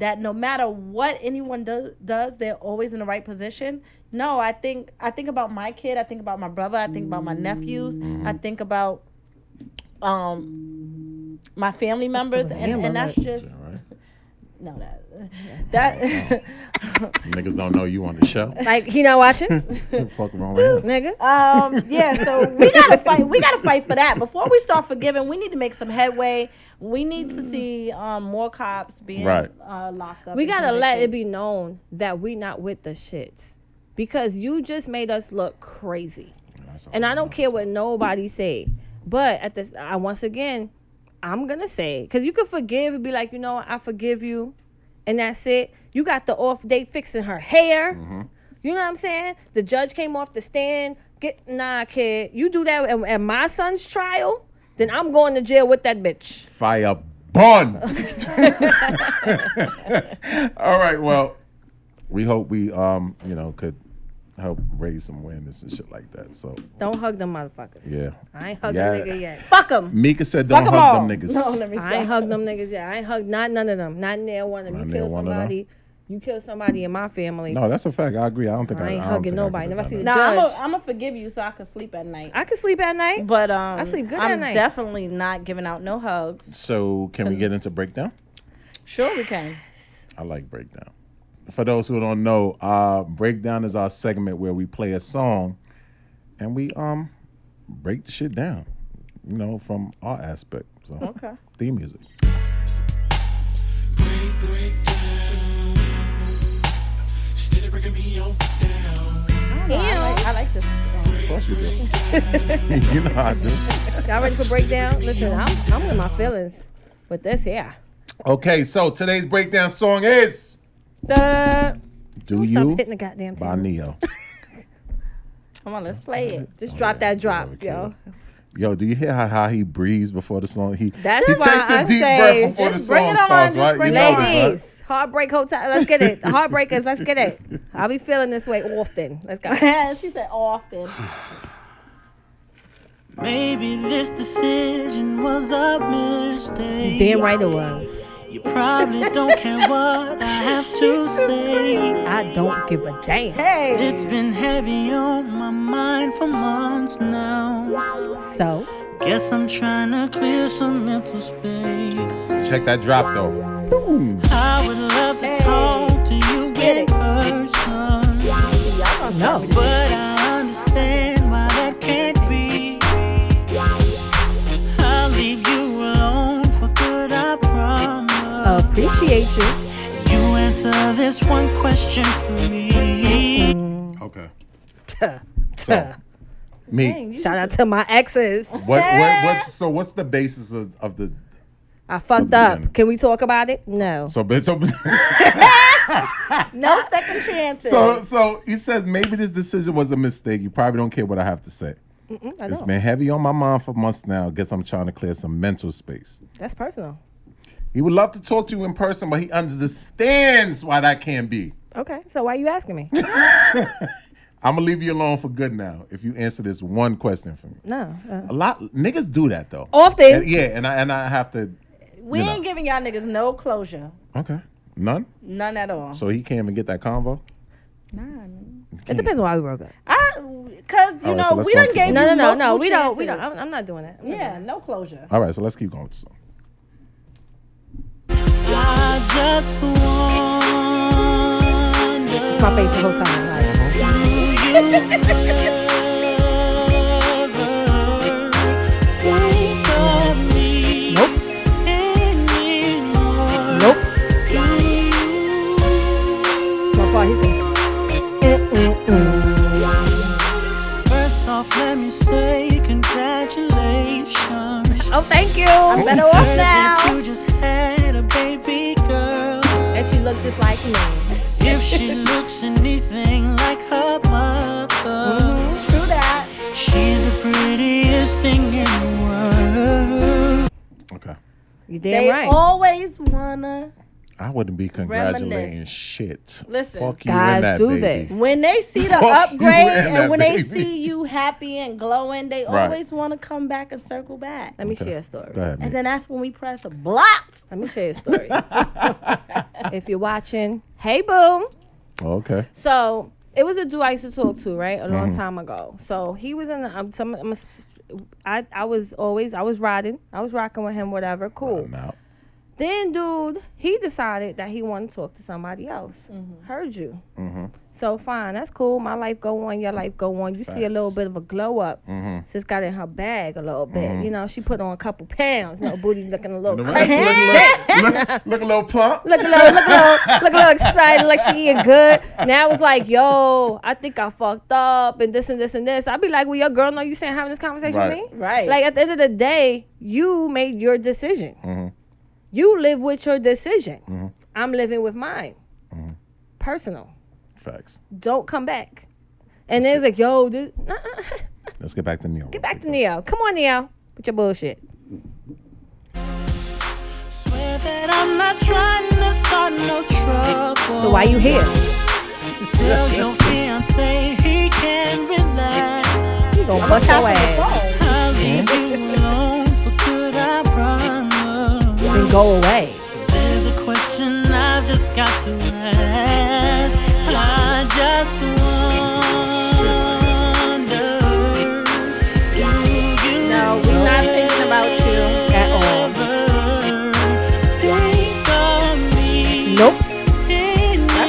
that no matter what anyone do- does they're always in the right position no i think i think about my kid i think about my brother i think about my nephews i think about um my family members and, and that's just
All right.
no that that
Niggas don't know you on the show.
Like he not watching,
What the fuck wrong with him?
nigga.
Um, yeah, so we gotta fight. We gotta fight for that. Before we start forgiving, we need to make some headway. We need to see um, more cops being
Right.
uh, locked up.
We
and
gotta let it
convicted.
be known that we not with the shits, because you just made us look crazy.
That's all
And I
right.
don't care what nobody say. But at this, I once again, I'm gonna say because you can forgive and be like, you know, what, I forgive you, and that's it. You got the off day fixing her hair.
Mm-hmm.
You know what I'm saying? The judge came off the stand. Get nah, kid. You do that at, at my son's trial, then I'm going to jail with that bitch.
Fire bun. All right. Well, we hope we um you know could help raise some awareness and shit like that. So
Don't hug them motherfuckers.
yeah.
I ain't hugged
Yeah.
them nigga yet.
Fuck them.
Mika said, "Don't
Fuck them all.
hug them niggas."
No, let me
I ain't
stop.
hugged them niggas yet. I ain't hugged not none of them. Not near one of them.
Not
you
near
kill
one of them.
somebody. You kill somebody in my family.
No, that's a fact. I agree. I don't think I,
I ain't
I don't
hugging
think I
nobody.
could've
Never
done
seen
that.
the
Nah, I'm
judge.
gonna forgive you so I can sleep at night.
I can sleep at night.
But um,
I sleep good at
I'm
night.
definitely not giving out no hugs.
So can we get into breakdown?
Sure, we can.
I like breakdown. for those who don't know, uh, breakdown is our segment where we play a song, and we um break the shit down, you know, from our aspect. So
Okay.
theme music.
Break, break down. Steady breaking me on down.
Damn.
I like this.
Of course you do. you know how I do.
Y'all ready for breakdown? Listen, I'm, I'm with my feelings with this here.
Okay, so today's breakdown song is
Duh.
"Do
Stop
You"
hitting the goddamn
by
table.
Neo.
Come on, let's play it.
Just drop that drop,
Okay.
yo.
Yo, do you hear how, how he breathes before the song? He
That's
he
why
takes a
I
deep
say,
breath before the
just bring
song
it on,
starts,
just
right?
bring
You
it on.
know this,
Ladies, Heartbreak Hotel, let's get it. Heartbreakers, let's get it. I'll be feeling this way often. Let's go.
she said often.
Maybe this decision was a mistake.
Damn right it was.
You probably don't care what I have to say.
I don't give a damn.
It's been heavy on my mind for months now.
So,
Guess I'm trying to clear some mental space.
right? Check that drop though.
I would love to talk to you in person.
no.
But I understand why that can't be. I'll leave you alone for good, I promise.
Appreciate you.
You answer this one question for me.
Okay.
Shout
Me.
out to my exes.
What, what, what, so what's the basis of, of the
I fucked up. Can we talk about it? No.
so but- so
No second chances.
so so he says maybe this decision was a mistake. You probably don't care what I have to say.
Mm, I
It's
know.
been heavy on my mind for months now. Guess I'm trying to clear some mental space.
That's personal.
He would love to talk to you in person, but he understands why that can't be.
Okay. So why you asking me?
I'm gonna leave you alone for good now if you answer this one question for me.
No. Oh, uh,
A lot niggas do that though.
Often.
And- yeah, and I and I have to.
we
you know.
ain't giving y'all niggas no closure.
Okay, none.
None at all.
So he can't even get that convo.
it depends on why we broke up.
I, cause you
All right, so
know
let's
we
go on
done
to the-
gave
No, no,
you
no, no.
multiple
We don't. We don't.
chances.
I'm, I'm not doing that. I'm not
Yeah, no closure.
All right, so let's keep going. With this song.
I just
doing that. My
wonder.
face the whole time. Like,
Nope.
nope.
Nope.
My part, he's like,
First off, let me say congratulations.
oh, thank you. I'm
Better off
That
now.
you just had a baby girl.
And she looked just like me.
If she looks anything like her mother,
Mm-hmm. True that.
she's the prettiest thing in the world.
Okay,
You damn
They
right.
always wanna
I wouldn't be congratulating
Reminisce.
shit.
Listen.
fuck you
Guys
and that
do
baby.
this.
when they see the
Fuck you
upgrade
and
and,
that
when
baby.
they see you happy and glowing, they
Right.
always wanna come back and circle back.
Let me share a story.
Go ahead,
And
man.
then that's when we press blocked.
Let me share a story. if you're watching, hey, boo.
Oh, Okay.
So it was a dude I used to talk to, right, a
Mm-hmm.
long time ago. So he was in. The, I'm, some, I'm a, I I was always I was riding. I was rocking with him. Whatever, cool.
I'm out.
Then, dude, he decided that he wanted to talk to somebody else. Heard you. So fine, that's cool. My life go on, your life go on. You see a little bit of a glow up. Sis got in her bag a little bit. You know, she put on a couple pounds. No booty looking a little
Look,
Oh, crazy.
look, look a little plump.
Look a little, look a little, look a little excited, like she eating good. Now it's like, yo, I think I fucked up and this and this and this. I'd be like, well, your girl know you saying having this conversation
Right.
with me,
Right.
Like at the end of the day, you made your decision. You live with your decision. I'm living with mine. Personal.
Facts.
Don't come back. And then it's like, yo, this, uh-uh.
Let's get back to Neo.
get back to Neo. Come on, Neo, with your bullshit.
Swear that I'm not trying to start no trouble.
So why you here?
Tell your fiance he can relax.
You gonna bust your ass
I'll leave you alone for good, I promise.
and go away.
There's a question I've just got to ask. I just wonder. Do you
No, we're not thinking about you.
At all.
ever think of me
Nope.
anymore?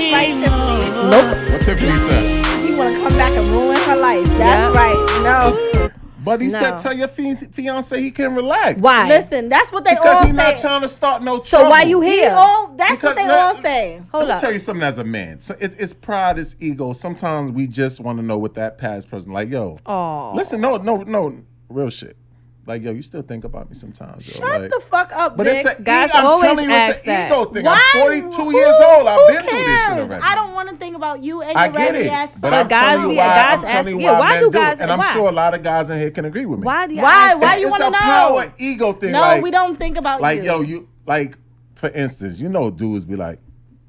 That's right
Tiffany said.
You want to come back and ruin her life. That's
Yeah.
right. No.
But he said,
No.
tell your fian- fiance he can relax.
Why?
Listen, that's what they
Because
all
he's not
say.
trying to start no trouble.
So why you
We
here?
all- that's
Because
what they
let-
all say.
Hold
Let me
up.
tell you something as a man. So it, it's pride, it's ego. Sometimes we just want to know what that past person like. Yo,
Aw.
listen, no, no, no, real shit. Like yo, you still think about me sometimes. yo.
Shut
Like-
the fuck up,
But
Vic.
it's an
Guys
ego. I'm
always
telling you, it's
ask
an
that.
ego thing. I'm
Why?
42
Who-
years old. I've
who
been through this shit
cares?
already.
I don't want to think about you and
I
your
get
raggedy
it,
ass.
but
But
I'm
guys
telling you
be-
why.
guys
I'm telling you
ask- yeah,
why,
why
men
do
do it.
guys-
And I'm
why?
sure a lot of guys in here can agree with me.
Why do you
Why?
ask
Why
that?
you
it's
want to
a
know?
power ego thing.
No,
like,
we don't think about
Like
you.
yo, you like for instance, you know, dudes be like.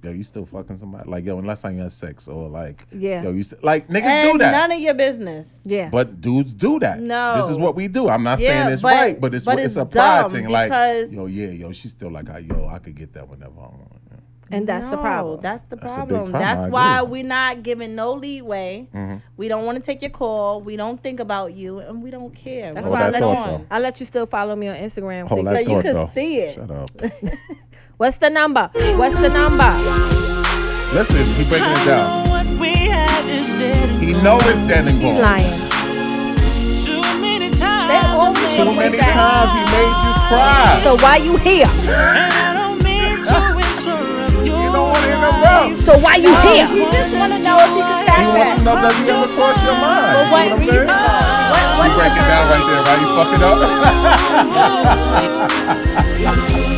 Yo, you still fucking somebody? Like, yo, unless I had sex or like,
Yeah.
yo, you st- like niggas
and
do that.
none of your business.
Yeah.
But dudes do that.
No.
This is what we do. I'm not saying
Yeah,
it's
but-
right, but it's
but
it's,
it's
a pride
dumb
thing. Like,
because-
yo, yeah, yo, she's still like, I, yo, I could get that whenever I want. Yeah.
and that's the
No,
problem.
That's the
a big
problem.
problem. I
That's
agree. Mm-hmm.
why we're not giving no leeway. We don't want to take your call. We don't think about you, and we don't care.
That's
Hold
why I
Oh, that
let
thought,
you.
though.
I let you still follow me on Instagram.
Hold
So
that
you
you-
thought,
could
Oh, though.
see it.
Shut up.
What's the number? What's the number?
Listen, he breaking it down.
What we have is dead and
He know it's dead and
He's
gone.
lying.
too many times.
They always
I
Too
wanna
many
back.
times he made you cry.
So why you here?
And I don't mean to interrupt your
You don't want to
life.
interrupt.
So why you
He
here?
just want to know if you can
He wants to
tap
know does he ever cross your mind? You see
why
what I'm
we-
saying? You break it down right there, right? You fuck it up.
Do you ever think of me?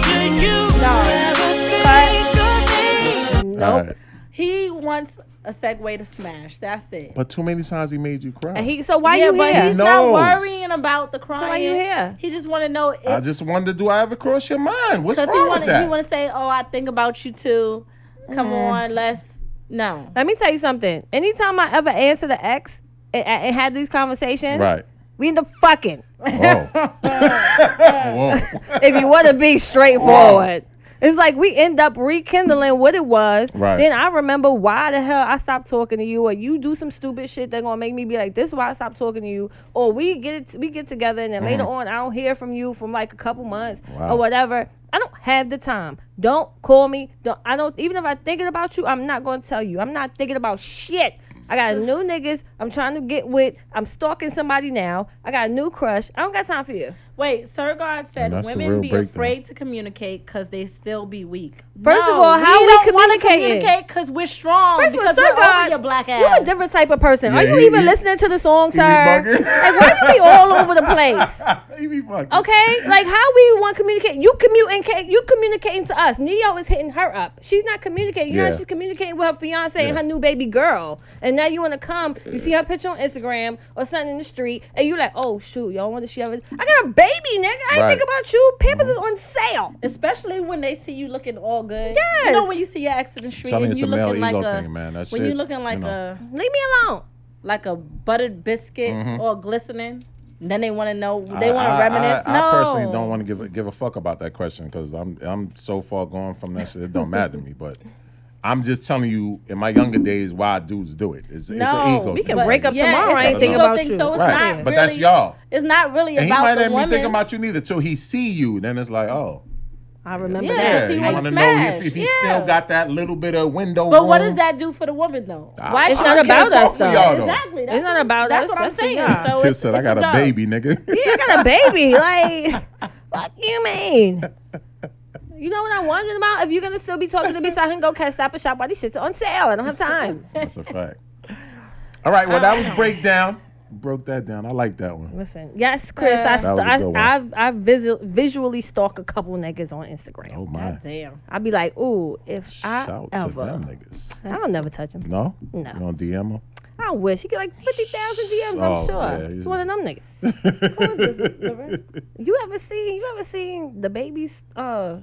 All right.
He wants a segue to smash. That's it.
But too many times he made you cry.
And he. So why
yeah,
you
but
here?
he's
knows.
not worrying about the crying.
why you here?
He just want to know
I
if
just wondered, do I ever cross your mind? What's
because
wrong
he want
with that?
to he want to say, "Oh, I think about you too." Come
Mm.
on, let's no.
Let me tell you something. Anytime I ever answer the ex and, and had these conversations,
Right.
we end up fucking.
Whoa. Whoa.
if you want to be straightforward. It's like we end up rekindling what it was.
Right.
Then I remember why the hell I stopped talking to you, or you do some stupid shit that gonna make me be like, "This is why I stopped talking to you." Or we get it, we get together, and then later on, I don't hear from you from like a couple months
Mm-hmm. Wow.
or whatever. I don't have the time. Don't call me. Don't. I don't. Even if I'm thinking about you, I'm not gonna tell you. I'm not thinking about shit. I got new niggas. I'm trying to get with. I'm stalking somebody now. I got a new crush. I don't got time for you.
Wait, Sergard
And
said
that's the real
women be
breakdown.
afraid to communicate because they still be weak.
First of all, how we
don't wanna
communicating?
Communicate because we're strong.
First of all,
Oh, because
sir,
we're over
God,
your black ass.
you a different type of person.
Yeah,
Are you
he-
even
he-
listening to the song, sir?
bugging.
Like, why you be all over the place?
he be fucking.
Okay, like how we want communicate? You communicate. You communicating to us. Neo is hitting her up. She's not communicating. You know,
Yeah.
she's communicating with her fiance and
Yeah.
her new baby girl. And now you want to come. You see her picture on Instagram or something in the street, and you like, oh shoot, y'all wonder she ever? I got a baby, nigga. I ain't
Right. Mm-hmm.
think about you. Pampers is on sale.
Especially when they see you looking all good.
Yes.
You know when you see your ex in the street
Tell me
and
it's
you
a male
looking like
ego
a
thing, man. That
when
shit,
you looking like
you know.
a
Leave me alone.
like a buttered biscuit all glistening. Then they want to know. They
Mm-hmm. I-
want to
I-
reminisce.
I, I,
no,
personally don't want to give a, give a fuck about that question because I'm I'm so far gone from that shit. It don't matter to me, but. I'm just telling you, in my younger days, why dudes do it. It's, it's an
No,
ego.
we
thing.
can
But
break up
yeah,
tomorrow.
it's
I
an
ain't thinking
ego
about
thing,
you.
so it's
Right,
not
but
really,
that's y'all.
It's not really
And he
about
might
the
not
woman.
be thinking about you neither till he see you. Then it's like, oh,
I remember
Yeah,
that.
he
you
wants
wanna know
smash.
if, if he
Yeah.
still got that little bit of window.
But what
room.
does that do for the woman though?
I-
Why it's
I can't
not about
talk
us,
for
though.
y'all,
Exactly. That's
It's not
what-
about
that's
us,
What I'm
that's for
saying.
y'all.
So
Tiff
it's,
said, "I
it's
got a
dumb.
baby, nigga."
Yeah, I got a baby. Like, fuck you mean? You know what I'm wondering about? If you're gonna still be talking to me, so I can go catch stop and shop while these shits are on sale. I don't have time.
That's a fact. All right, well, that was
Ah.
breakdown. Broke that down. I like that one.
Listen, yes, Chris, I, st-
was a good one.
I, I've, I visu- visually stalk a couple niggas on Instagram.
Oh my!
Damn.
I'd be like, ooh, if
Shout
I
to them
ever,
niggas.
I'll never touch him.
No,
No.
You gonna DM them?
I wish he get like fifty thousand DMs.
Oh,
I'm
yeah,
sure.
he's-
He's one of them niggas. you ever seen? You ever seen the baby's uh,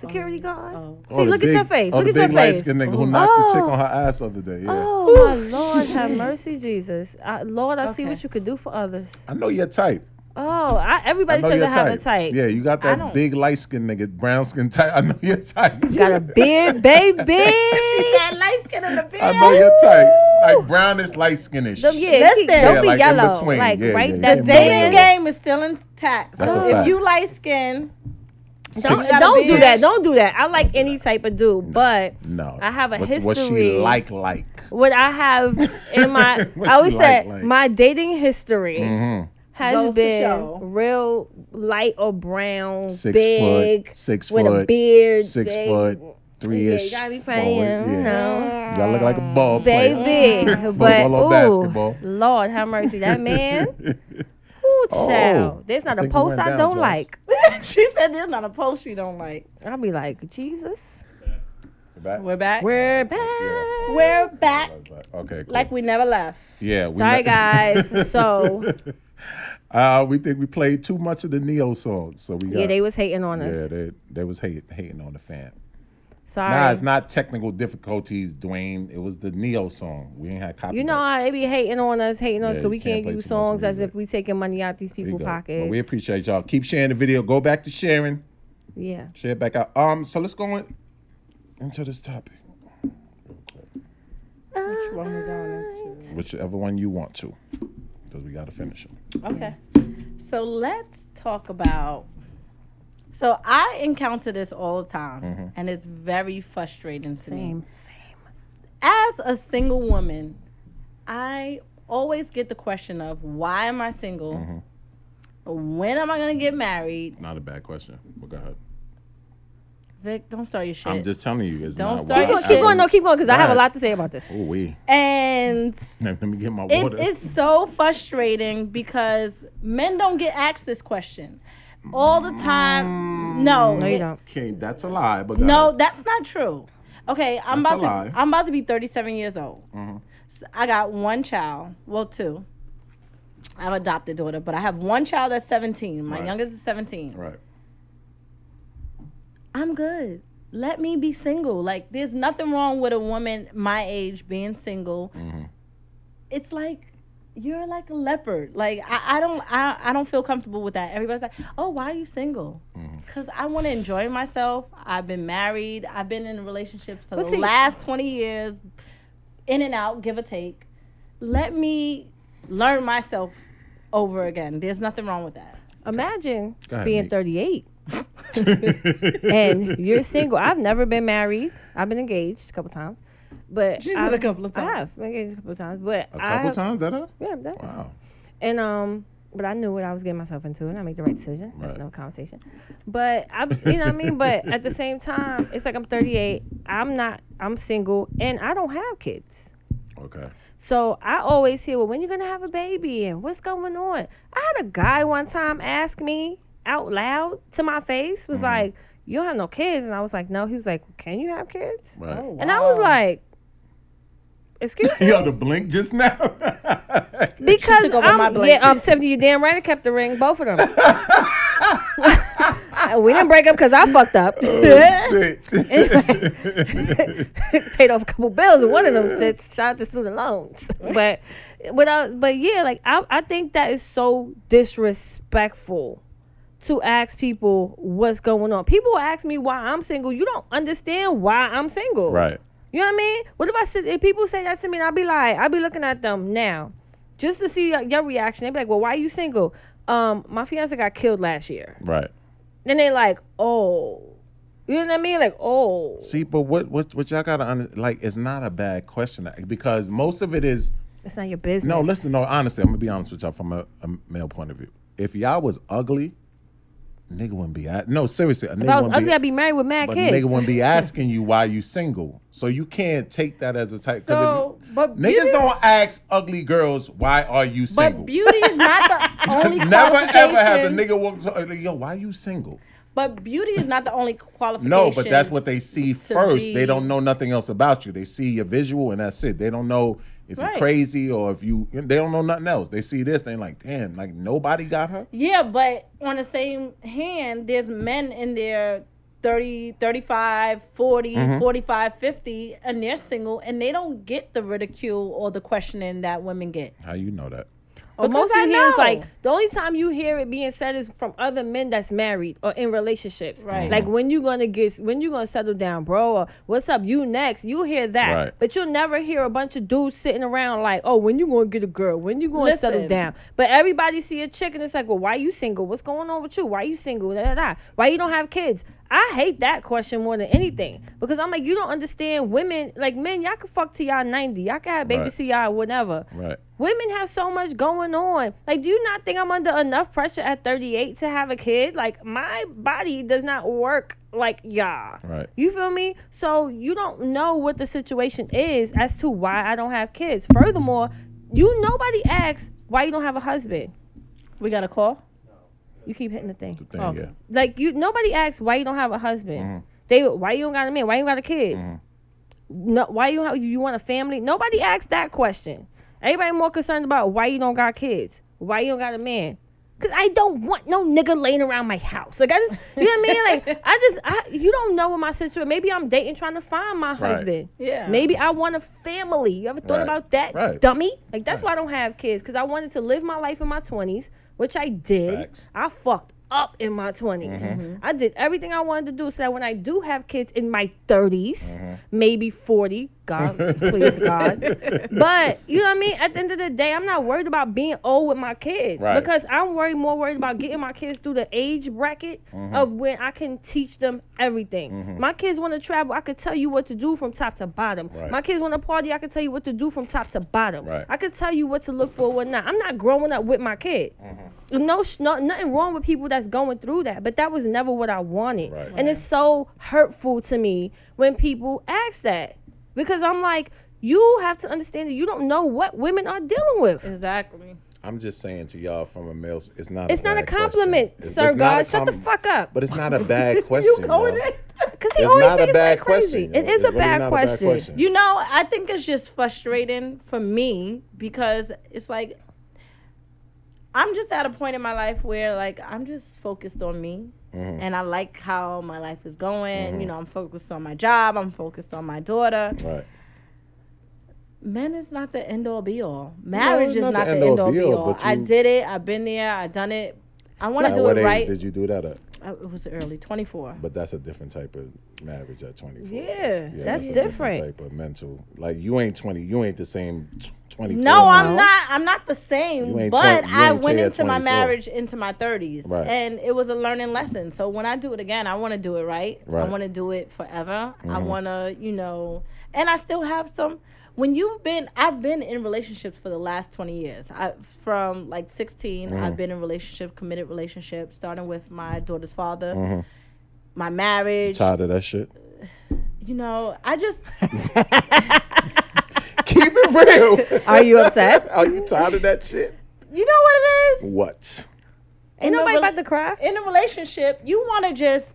security guard?
Oh.
See,
Oh,
look at your face. look at your face.
big light nigga who knocked the chick
Oh.
on her ass the other day. Yeah.
Oh my Lord, have mercy, Jesus! I, Lord, I see
Okay.
what you could do for others.
I know your type.
Oh, I,
I
everybody
know
says
your
they
type.
have a type.
Yeah, you got that
don't-
big light skinned nigga, brown skin type. I know your type.
Got a beard, baby.
That light skin in the beard.
I know your type. Like brownish, light skinnish.
Them- yeah,
Listen.
she-
Yeah,
don't be
like in
yellow.
between.
Like
Yeah, yeah,
right
you
there.
can't be
Dating
yellow.
game is still intact.
That's
so
a
if
fact.
you light skin,
Don't,
Six-
don't do
six-
that. Don't do that. I like any type of
Mm-hmm.
dude, but
No.
I have a
What-
history.
What she like, like.
what I have in my
What
I always
you like,
said
Mm-hmm. like.
my dating history has
Goes to show.
been real light or brown,
Six
big,
foot. Six
with
foot.
a beard,
Six
big.
foot. Three
Yeah,
ish.
you gotta be
forward,
playing, you know.
You gotta look like a ball player.
Baby, but
Football or
ooh,
basketball.
Lord have mercy, that man. Ooh, child,
Oh,
there's not
I
a
think you
post
went
I
down,
don't
Josh.
like.
she said there's not a post she don't like.
I'll be like, Jesus,
Back.
We're back. We're,
we're back.
back
Okay. Cool.
like we never left.
yeah. We met-
Sorry, guys. So
Uh, we think we played too much of the Neo songs, so we got,
yeah, they was hating on us.
yeah they they was hate, hating on the fan.
Sorry.
Nah, it's not technical difficulties, Dwayne. It was the Neo song. We ain't had copy.
You know how they be hating on us, hating on us
Yeah,
because
you
we
can't
can't,
play
use
too much
songs as
music.
if we taking money out these people's pockets.
we appreciate y'all. Keep sharing the video. Go back to sharing.
yeah.
Share it back out. Um, so let's go in, into this topic, whichever one you want to, because we gotta finish it.
Okay. So let's talk about. So I encounter this all the time,
Mm-hmm.
and it's very frustrating to me. As a single woman, I always get the question of why am I single?
Mm-hmm.
When am I gonna get married?
Not a bad question. But go ahead.
Vic, don't start your shit.
I'm just telling you, it's
Don't
not.
start
why
your
I
shit.
Keep
would-
going, no, keep going, because I have a
Right.
lot to say about this.
Oh we.
and
Let me get my
It
water.
is so frustrating because men don't get asked this question all the time. No,
No, you
it-
don't.
okay, that's a lie. But go
no,
ahead.
that's not true. Okay, I'm
That's a
about
lie. Mm-hmm.
to I'm about to be 37 years old. So I got one child, well two. I have an adopted daughter, but I have one child that's 17. My
Right.
youngest is 17.
right.
I'm good. Let me be single. Like, there's nothing wrong with a woman my age being single.
Mm-hmm.
It's like you're like a leopard. Like I, I don't I, I don't feel comfortable with that. Everybody's like, oh, why are you single?
Mm-hmm.
Because I want to enjoy myself. I've been married. I've been in relationships for
But
the
see-
last 20 years, in and out, give or take. Let me learn myself over again. There's nothing wrong with that.
Imagine
Go ahead,
being
Meek.
38 and you're single. I've never been married. I've been engaged a couple times, but
She said
I've,
a couple of times.
I have been engaged a couple times, but
A couple
I,
times, that up?
Yeah, that-
Wow.
And um, but I knew what I was getting myself into, and I made the right decision. That's
Right.
no conversation. But I, you know what I mean. But at the same time, it's like I'm 38. I'm not. I'm single, and I don't have kids.
Okay.
So I always hear, well, when you gonna have a baby, and what's going on? I had a guy one time ask me out loud to my face,
Mm-hmm.
was like, "You don't have no kids," and I was like, "No." He was like, "Can you have kids?"
Right.
And I was like, "Excuse me."
You had to blink just now.
Because
took over
I'm,
my blanket.
yeah, um, Tiffany, you damn right I kept the ring, both of them. we didn't break up because I fucked up.
Shit.
Paid off a couple bills with one of them. Shits. Shout out to student loans, but without, but yeah, like I, I think that is so disrespectful to ask people what's going on. People ask me why I'm single. You don't understand why I'm single,
right.
You know what I mean? What if I sit, if people say that to me and I'll be like, I'll be looking at them now just to see your, your reaction. They be like, well, why are you single? Um, my fiance got killed last year.
Right.
Then they like, oh, you know what I mean? Like, oh,
See, but what what what y'all gotta under, like? It's not a bad question because most of it is
it's not your business.
no. Listen, no. Honestly, I'm gonna be honest with y'all from a, a male point of view. If y'all was ugly, nigga wouldn't be. a- No, seriously, a nigga
If I was
wouldn't
ugly,
be.
I'd be married with mad
but
kids.
nigga wouldn't be asking you why you single, so you can't take that as a type. 'cause if
So,
you-
but
niggas
beauty-
don't ask ugly girls why are you single.
But beauty is not the only
Never ever has a
qualification.
nigga walk to like, yo, why you single?
But beauty is not the only qualification.
No, but that's what they see first. They
be-
don't know nothing else about you. They see your visual and that's it. They don't know if
Right.
you're crazy or if you. They don't know nothing else. They see this. They like, damn, like nobody got her.
Yeah, but on the same hand, there's men in their 30, 35, 40,
Mm-hmm.
45, 50, and they're single, and they don't get the ridicule or the questioning that women get.
How you know that?
Or
Because
most
I
you hear is
know.
like the only time you hear it being said is from other men that's married or in relationships.
Right.
Like when you gonna get when you gonna settle down, bro, or what's up, you next. You hear that.
Right.
But you'll never hear a bunch of dudes sitting around like, Oh, when you gonna get a girl? When you gonna settle
Listen.
down? But everybody see a chick and it's like, Well, why you single? What's going on with you? Why you single? Da, da, da. Why you don't have kids? I hate that question more than anything. Because I'm like, you don't understand women like men, y'all can fuck to y'all ninety. Y'all can have baby
Right.
to y'all whatever.
Right.
Women have so much going on. Like, do you not think I'm under enough pressure at 38 to have a kid? Like, my body does not work like y'all.
Right.
You feel me? So you don't know what the situation is as to why I don't have kids. Furthermore, you nobody asks why you don't have a husband.
We got a call.
You keep hitting the thing.
Thing,
Oh.
yeah.
Like you nobody asks why you don't have a husband.
Mm-hmm.
They why you don't got a man? Why you don't got a kid? No, why you have, you want a family? Nobody asks that question. Everybody more concerned about why you don't got kids, why you don't got a man. Cause I don't want no nigga laying around my house. Like I just, you know what I mean? Like I just, I, you don't know what my situation. Maybe I'm dating trying to find my husband.
Yeah.
Maybe I want a family. You ever thought
Right.
about that,
Right.
dummy? Like that's why I don't have kids. Cause I wanted to live my life in my twenties, which I did.
Facts. Mm-hmm.
I fucked up in my 20s. I did everything I wanted to do so that when I do have kids in my 30s,
Mm-hmm.
maybe 40, God, please God. But you know what I mean? At the end of the day, I'm not worried about being old with my kids
Right.
because I'm worried more worried about getting my kids through the age bracket
Mm-hmm.
of when I can teach them everything. My kids want to travel, I could tell you what to do from top to bottom.
Right.
My kids want to party, I could tell you what to do from top to bottom.
Right.
I could tell you what to look for, what not. I'm not growing up with my kid.
Mm-hmm.
No, sh- no, nothing wrong with people that's going through that, but that was never what I wanted.
Right.
And it's so hurtful to me when people ask that because I'm like, you have to understand that you don't know what women are dealing with.
Exactly.
I'm just saying to y'all from a male, it's not.
It's not a
bad question.
compliment,
It's-
sir.
it's not a
God, shut the
com-
fuck up.
But it's not a bad question.
going
y'all.
in?
Because he
It's
always
not
says
a bad
like crazy.
question.
It
yo.
is
It's
a,
really
bad
not
question.
You know, I think it's just frustrating for me because it's like I'm just at a point in my life where like I'm just focused on me.
Mm-hmm.
And I like how my life is going. You know, I'm focused on my job. I'm focused on my daughter.
Right.
Men is not the end all be all. Marriage is
not
not
the
the
end-all,
end all be
be-all,
all.
but
I
you-
did it. I've been there. I've done it. I want to
At
do
what
it
age
right.
did you do that at?
I- it was early, 24.
But that's a different type of marriage at 24.
Yeah, that's
a
different.
type of mental. Like you ain't 20. You ain't the same t- 24.
No,
type.
I'm not. I'm not the same.
You ain't
But
twen- you
I
ain't
went
till
into my
24.
marriage into my 30s,
Right.
and it was a learning lesson. So when I do it again, I want to do it right.
Right. Mm-hmm.
I want to do it forever. I want to, you know, and I still have some. When you've been, I've been in relationships for the last 20 years. I from like 16,
Mm-hmm.
I've been in relationship, committed relationship, starting with my daughter's father.
Mm-hmm.
My marriage,
tired of that shit.
you know, I just
Keep it real.
Are you upset?
Are you tired of that shit?
you know what it is?
What?
In
Ain't
a
nobody
rela-
about to cry.
In a relationship, you want to just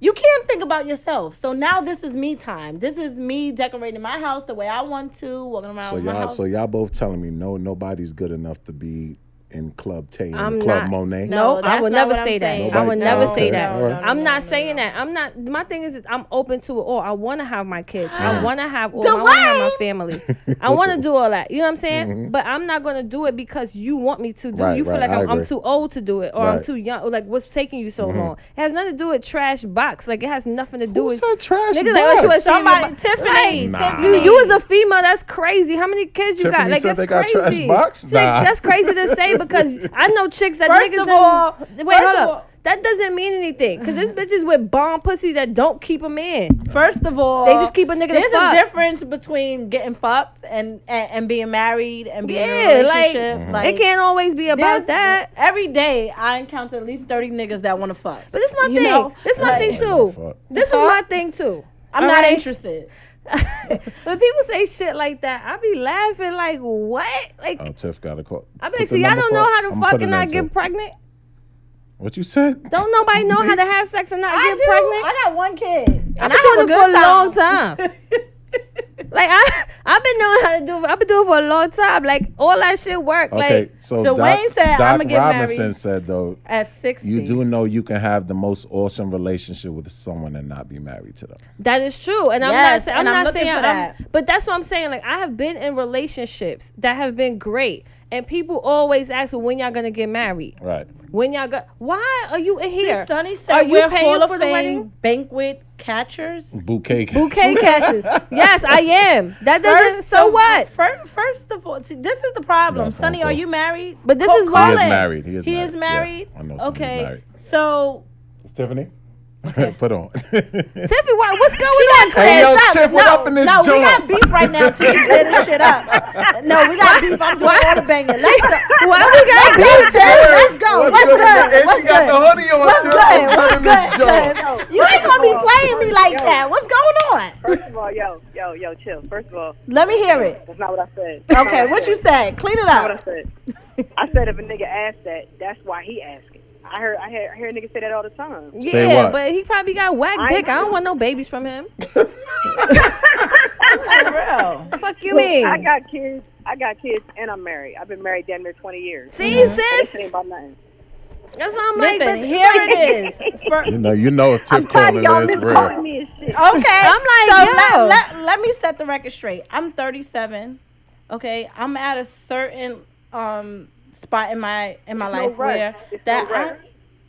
you can't think about yourself. So now this is me time. This is me decorating my house the way I want to, walking
Oh,
around
So
my
y'all,
house.
so y'all both telling me no, nobody's good enough to be in Club Tay and
I'm
Club
not.
Monet.
No,
No,
I
that's
would
not
never
what I'm
say that.
saying.
I would
Nobody-
never
no,
say
okay,
that.
all right.
I'm not saying that. I'm not. My thing is, I'm open to it all. I want to have my kids.
Mm.
I want to have all. I want to have my family. I want to do all that. You know what I'm saying? But I'm not going to do it because you want me to do.
Mm-hmm. Right,
it. you feel
right,
like
I
I'm, I'm
agree.
too old to do it, or I'm
Right. Mm-hmm.
too young. Or like, what's taking you so long? It has nothing to do with trash box. Like, it has nothing to do
Who
with.
said trash?
Niggas like, oh, she was
Somebody,
somebody.
Tiffany,
Nah.
Tiffany.
You, you as a female, that's crazy. How many kids you got?
Tiffany
Like
said
that's
they got
crazy.
trash box?
Shit,
Nah.
That's crazy to say because I know chicks that
First
niggas.
of
doesn't-
all-
wait,
first
hold
of
up.
all-
that doesn't mean anything because this bitches with bomb pussy that don't keep them in.
First of all,
They just keep a nigga to
There's
fuck.
a difference between getting fucked and and, and being married and being in
Yeah,
a
like,
Mhm.
relationship.
Mm-hmm.
Like,
it can't always be
there's-
about that.
Every day, I encounter at least thirty niggas that want to fuck.
But it's my
You
thing.
know?
This is my
Like,
thing
Oh,
too.
fuck.
This is my thing too.
I'm
All
not
right?
interested.
when people say shit like that, I be laughing like what? Like
Oh, Tiff got a call.
I be
Put
like,
the
so y'all
number
don't
for-
know how to
I'ma put
fuck
it
and
in
not
there,
get
Tiff.
pregnant.
What you said?
Don't nobody know how to have sex and not
I
get
do.
pregnant.
I got one kid,
And
and
I've been doing it for a long
time.
time. like I, I've been knowing how to do. I've been doing it for a long time. Like all that shit work.
okay,
Like
so
Dwayne
Doc,
said,
Doc
"I'ma get
Robinson
married."
said though,
At sixty,
you do know you can have the most awesome relationship with someone and not be married to them.
that is true. And I'm
Yes,
not. saying
and
I'm
I'm
not
looking
saying
for
I'm-
that.
But that's what I'm saying. Like I have been in relationships that have been great. And people always ask, well, when y'all gonna get married?
Right.
When y'all got? Why are you in here?
Sonny
are
said
you
we're
paying
Hall
for
of
the
Fame
wedding?
banquet catchers.
Bouquet.
Bouquet catches. Yes, I am. That doesn't. so
of-
what?
fir- First of all, see, this is the problem.
Yeah, phone
Sonny, are
call.
you married?
But this
Call
is why- He is
Colin.
married. He is
He
married.
is
Yeah.
married.
I know Sonny's
okay.
married.
So
Tiffany, put on.
Tiffy, why? What's going on?
Hey,
Tiff?
yo,
Stop.
Tiff, what
no,
up in this
No, we
joint?
got beef right now till she clear this shit up. No, we got beef. I'm doing all the banging. Let's go.
Why we got
Let's go,
beef?
Let's go. What's
in the-
good?
And
What's
she got
good?
the hoodie on.
What's
too.
good?
What's
What's
in this joint?
oh,
good? You ain't gonna be playing me like that. What's going on?
First of all, yo, yo, yo, chill. First of all,
Let me hear it.
that's not what I said. That's
Okay,
not
what
I
you
said.
said? Clean it
That's
up.
not what I said. I said if a nigga asked that, that's why he asking. I heard, I hear, I hear niggas say that all the time.
Yeah,
Say what?
but he probably got whack
I
dick. I don't
know.
want no babies from him.
For real.
Fuck you mean?
I got kids. I got kids, and I'm married. I've been married damn near 20 years.
See, sis,
This ain't about nothing.
that's what I'm like.
Listen,
but-
here it is. For,
You know, you know if Tiff
Tired
calling
of
it,
y'all
it's
misquoting
real.
me and shit.
Okay.
I'm like,
so
yo.
Let, let, let me set the record straight. I'm 37. Okay. I'm at a certain um spot in my in my
It's no
life
rush.
where
It's
that
no
I-
rush.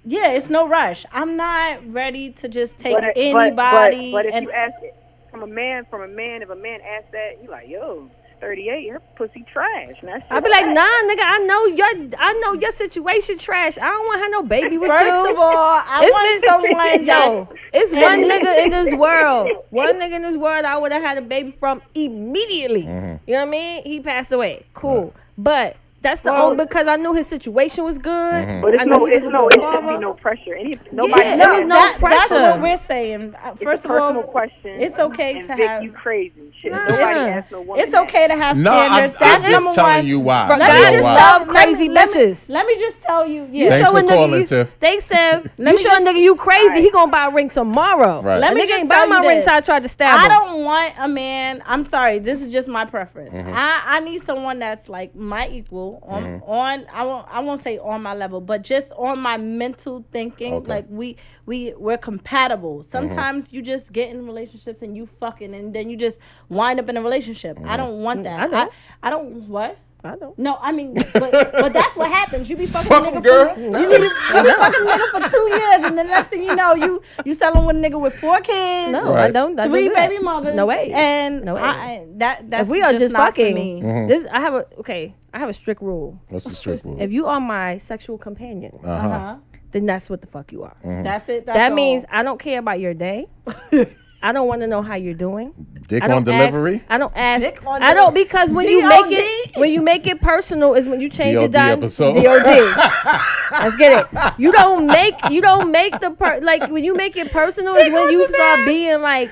yeah, it's no rush. I'm not ready to just take
But, but, but,
anybody
but if
and
you ask it from a man, from a man, if a man asks that, you like, yo, 38, her pussy trash. And that shit
I'd be like,
trash.
nah, nigga. I know your, I know your situation trash. I don't want her no baby with you.
first of all, I
It's
want
been-
someone
Yo,
that's
it's one nigga in this world. One nigga in this world I would have had a baby from immediately.
Mm-hmm.
You know what I mean? He passed away. Cool. But that's the
Well-
only because I knew his situation was good.
Mm-hmm.
But
I
it's
know
no,
he was
it's
a
no,
good
it should be
father.
no pressure. Any, nobody.
Yeah,
knows
there was no
that, that's
pressure.
what we're saying. Uh,
It's
First
a
of all,
personal question.
it's okay
and
to
Vic,
have-
you crazy. Shit.
Nah.
Nobody asked no woman.
it's okay to have
No, I'm, I'm
standards. that's number
just telling
one.
you why.
Bro,
Real
God
just
is
why.
love
let me-
crazy
let me-
bitches.
Let me just tell you. Yeah.
You
Thanks
show a
for
nigga
calling,
you,
Tiff.
They said
Let
you
me
show
just-
a nigga you crazy. He gonna buy a ring tomorrow.
Right.
Let
Let
me
me
nigga
just
ain't
tell
buy
you
my ring
this.
till I tried to stab
I
him.
don't want a man. I'm sorry. This is just my preference.
Mm-hmm.
I, I need someone that's like my equal on on. I won't I won't say on my level, but just on my mental thinking.
Okay.
Like we we we're compatible.
Mm-hmm.
Sometimes you just get in relationships and you fucking and then you just wind up in a relationship.
Mm-hmm.
I don't want that.
I
Mm, I,
know.
I don't what.
I don't.
No, I mean, but, but that's what happens. You be fucking
Fuck
a nigga
girl.
For, you need a, you be fucking a nigga for two years, and the next thing you know, you you selling with a nigga with four kids.
No, I
Right.
don't. I don't
Three
do that.
baby mothers.
No way.
And
No way.
I, I- that that's
if we are just,
not for
fucking,
me.
Mm-hmm.
this I have a okay. I have a strict rule.
What's the strip rule?
If you are my sexual companion,
Uh.
Uh-huh.
then that's what the fuck you are.
Mm.
That's it. That's
That
all.
means I don't care about your day. I don't want to know how you're doing.
Dick
I don't
on delivery.
Ask, I don't ask.
Dick on
I don't
delivery.
because when you make it
DOD.
when you make it personal is when you change your
DOD
di-
episode.
DOD. Let's get it. You don't make you don't make the per like when you make it personal is when you start being like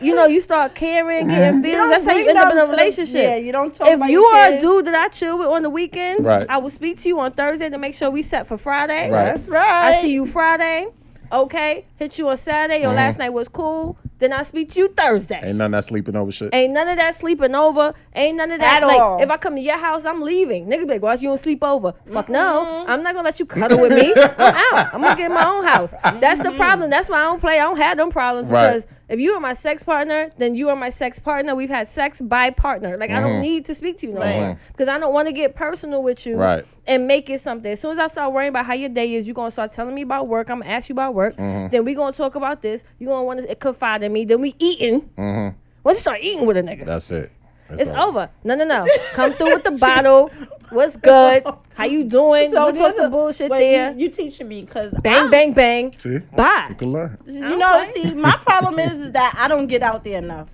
you know you start caring
Mm-hmm.
getting feelings. That's how you
bring
end up in
them
a
to the-
relationship.
yeah, you don't talk
If
about
you
your
are a
kids.
dude that I chill with on the weekends,
Right.
I will speak to you on Thursday to make sure we set for Friday.
Right.
that's right.
I see you Friday. Okay, hit you on Saturday.
Mm-hmm.
Your last night was cool. Then I speak to you Thursday.
Ain't none that sleeping over shit.
Ain't none of that sleeping over. Ain't none of that.
At
like,
all.
if I come to your house, I'm leaving. Nigga, be like, why you don't sleep over? Fuck no.
Mm-hmm.
I'm not gonna let you cuddle with me. I'm out. I'm gonna get in my own house. That's
Mm-hmm.
the problem. That's why I don't play. I don't have them problems
Right.
because if you are my sex partner, then you are my sex partner. We've had sex by partner. Like, I don't need to speak to you no more because I don't want to get personal with you
Right.
and make it something. As soon as I start worrying about how your day is, you're gonna start telling me about work. I'm gonna ask you about work.
Mm-hmm.
Then we gonna talk about this. You're gonna want to confide in me. Then we eating.
Mm-hmm.
Once you start eating with a nigga,
That's it. That's
it's
all.
over. No, no, no. Come through with the bottle. What's good? How you doing?
So
we'll talk
there's
some
a-
bullshit
wait,
there.
You, you teaching me because
bang, bang, bang.
See?
Bye.
You can learn.
You know, see, my problem is, is that I don't get out there enough.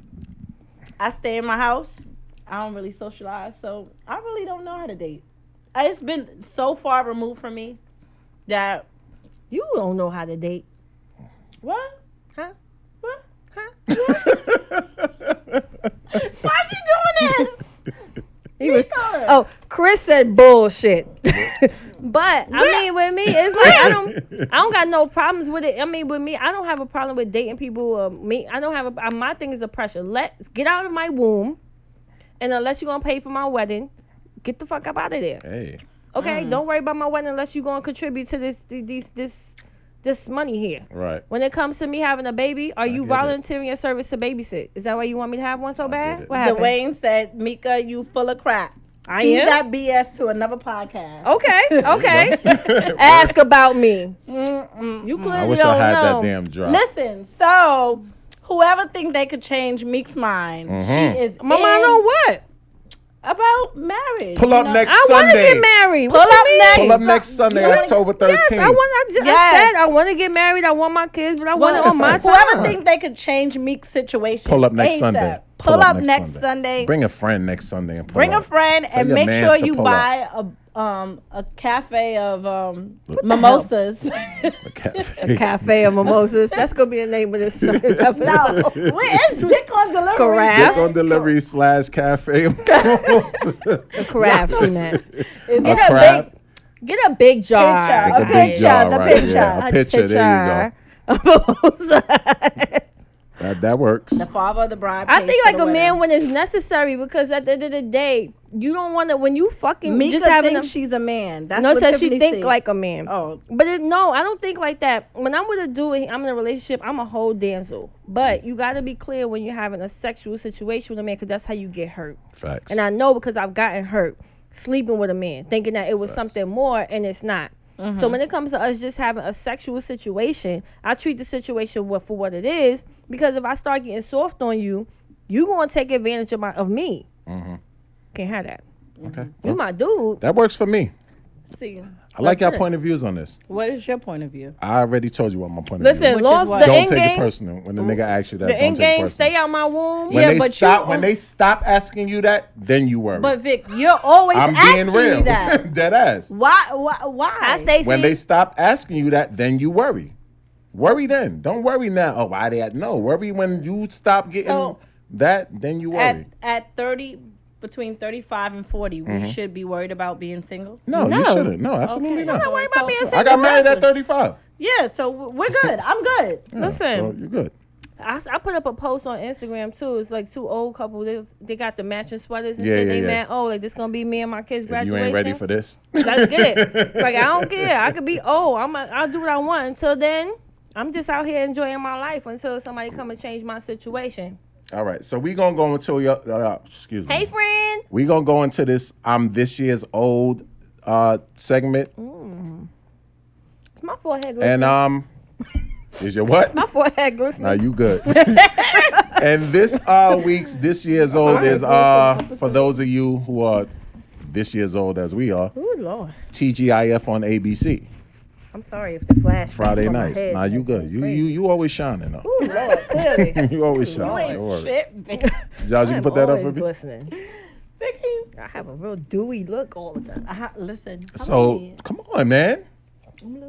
I stay in my house. I don't really socialize, so I really don't know how to date. I- It's been so far removed from me that
You don't know how to date.
what?
Huh?
What?
Huh?
Why you doing this?
He was-
Yeah.
oh, Chris said bullshit. but I mean, with me, it's like I don't, I don't got no problems with it. I mean, with me, I don't have a problem with dating people. Or me, I don't have a. uh, My thing is the pressure. Let get out of my womb, and unless you're gonna pay for my wedding, get the fuck up out of there.
Hey.
Okay, don't worry about my wedding unless you're gonna contribute to this this this this money here.
Right.
When it comes to me having a baby, are you
get it.
volunteering your service to babysit? Is that why you want me to have one so
get
bad?
it.
What happened?
Dwayne said, "Mika, you full of crap."
I
Feed
am.
that BS to another podcast.
Okay, okay. Ask about me. You clearly
I wish
don't
I had that
know.
damn drop.
Listen, so whoever think they could change Meek's mind, she is
My
in
mind on what?
about marriage.
Pull
you
up
know?
next
I want to
Sunday.
get married.
Pull
What you
up
mean?
next.
Pull up next Sunday,
You wanna-
October 13th.
Yes, I want. I, just,
Yes.
I said I want to get married. I want my kids, but I want it
Whoever-
on my
Whoever
time.
think they could change Meek's situation,
Pull up next
ASAP.
Sunday.
Pull, up, next Sunday.
Bring a friend next Sunday and pull
Bring a
up.
friend and
your
make
mans
sure
to
you
pull up.
buy a um a cafe of um mimosas.
A cafe.
Cafe of Mimosas. That's gonna be the name of this show.
no, Oh, wait, it's dick on delivery.
Carafe.
Dick on delivery slash cafe.
Carafe, she meant.
It's
Get
a
a
crab.
big, get a big jar.
Like a
picture, a
big
picture,
jar,
the
right,
picture.
yeah. A picture, there you
A mimosa.
that, that works.
The father of the bride.
I
pays
think
for
like
the
a
wedding.
man when it's necessary because at the end of the day, you don't want to when you fucking
Mika
just having
thinks
a,
she's a man. That's
no
what
says she
Tiffany
think
said.
like a man.
Oh.
but it, no, I don't think like that. When I'm with a dude, I'm in a relationship. I'm a whole damsel. But you got to be clear when you're having a sexual situation with a man because that's how you get hurt.
Facts.
And I know because I've gotten hurt sleeping with a man, thinking that it was something more, and it's not.
Mm-hmm.
So when it comes to us just having a sexual situation, I treat the situation what for what it is because if I start getting soft on you, you gonna take advantage of my of me. Can't have that.
okay.
You my dude.
That works for me.
See,
I like your
good.
point of views on this.
what is your point of view?
I already told you what my point of
Listen,
view
is
is.
lost
what?
the
Don't
end
take it
game.
personal when the nigga asks you that.
The
don't
end
take it
game.
personal.
Stay out my womb.
When
Yeah,
they
but you
stop,
al-
when they stop asking you that, then you worry.
But Vic, you're always
I'm
asking
being real.
me that.
Dead ass.
Why? Why? Why?
I stay.
When they stop asking you that, then you worry. Worry then. Don't worry now. Oh, why they at no. Worry when you stop getting
So-
that, then you worry.
at at thirty, between thirty five and 40 we should be worried about being single.
Mm-hmm. no, you
No.
shouldn't. No, absolutely
I'm
not.
not worried about being
I
single.
got married at
Exactly.
35.
Yeah, so w- we're good. I'm good.
Listen.
So you're good.
I, s- I put up a post on Instagram too. It's like two old couple. They, they got the matching sweaters and
Yeah,
shit.
yeah,
they
yeah.
mad. Oh, like this gonna be me and my
If
kids'
you
graduation.
ain't ready for this.
Let's get it. like I don't care. I could be old. I'm. A, I'll do what I want. Until then, I'm just out here enjoying my life until somebody come and change my situation.
All right. So we gonna go into your uh, excuse me.
Hey, friend.
we gonna go into this I'm this year's old uh segment.
It's my forehead glistening.
And um is your what?
my forehead
Now
glistening.
you good. and this uh week's this year's old is uh for those of you who are this year's old as we are,
Ooh, Lord.
TGIF on ABC.
I'm sorry if the flash.
Friday
from my
nights.
head.
Now you good. You you you always shining though.
Ooh, Lord, clearly.
you always shining. Don't worry. Josh, you
I'm
can put that up
always
for me.
glistening. I have a real dewy look all the time.
Uh, listen,
So come on, man.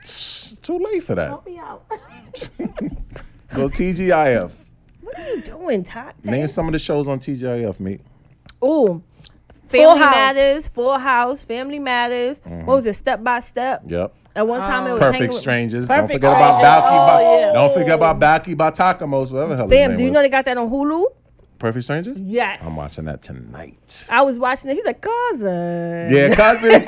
It's Too late for that.
help me out.
So TGIF.
You doing top?
Name some of the shows on TGIF, mate.
Ooh. Family
House.
Matters, Full House, Family Matters. What was it? Step by Step.
Yep.
At one time it was hanging
Mm-hmm. Perfect
with-
Strangers.
Perfect
don't forget about
Strangers.
Balky. Ba-
Oh, yeah.
Don't forget about Balky Batakamos, whatever the hell his
Bam,
name
do you
was.
know they got that on Hulu?
Perfect Strangers?
Yes.
I'm watching that tonight.
I was watching it. He's like, cousin.
Yeah, cousin.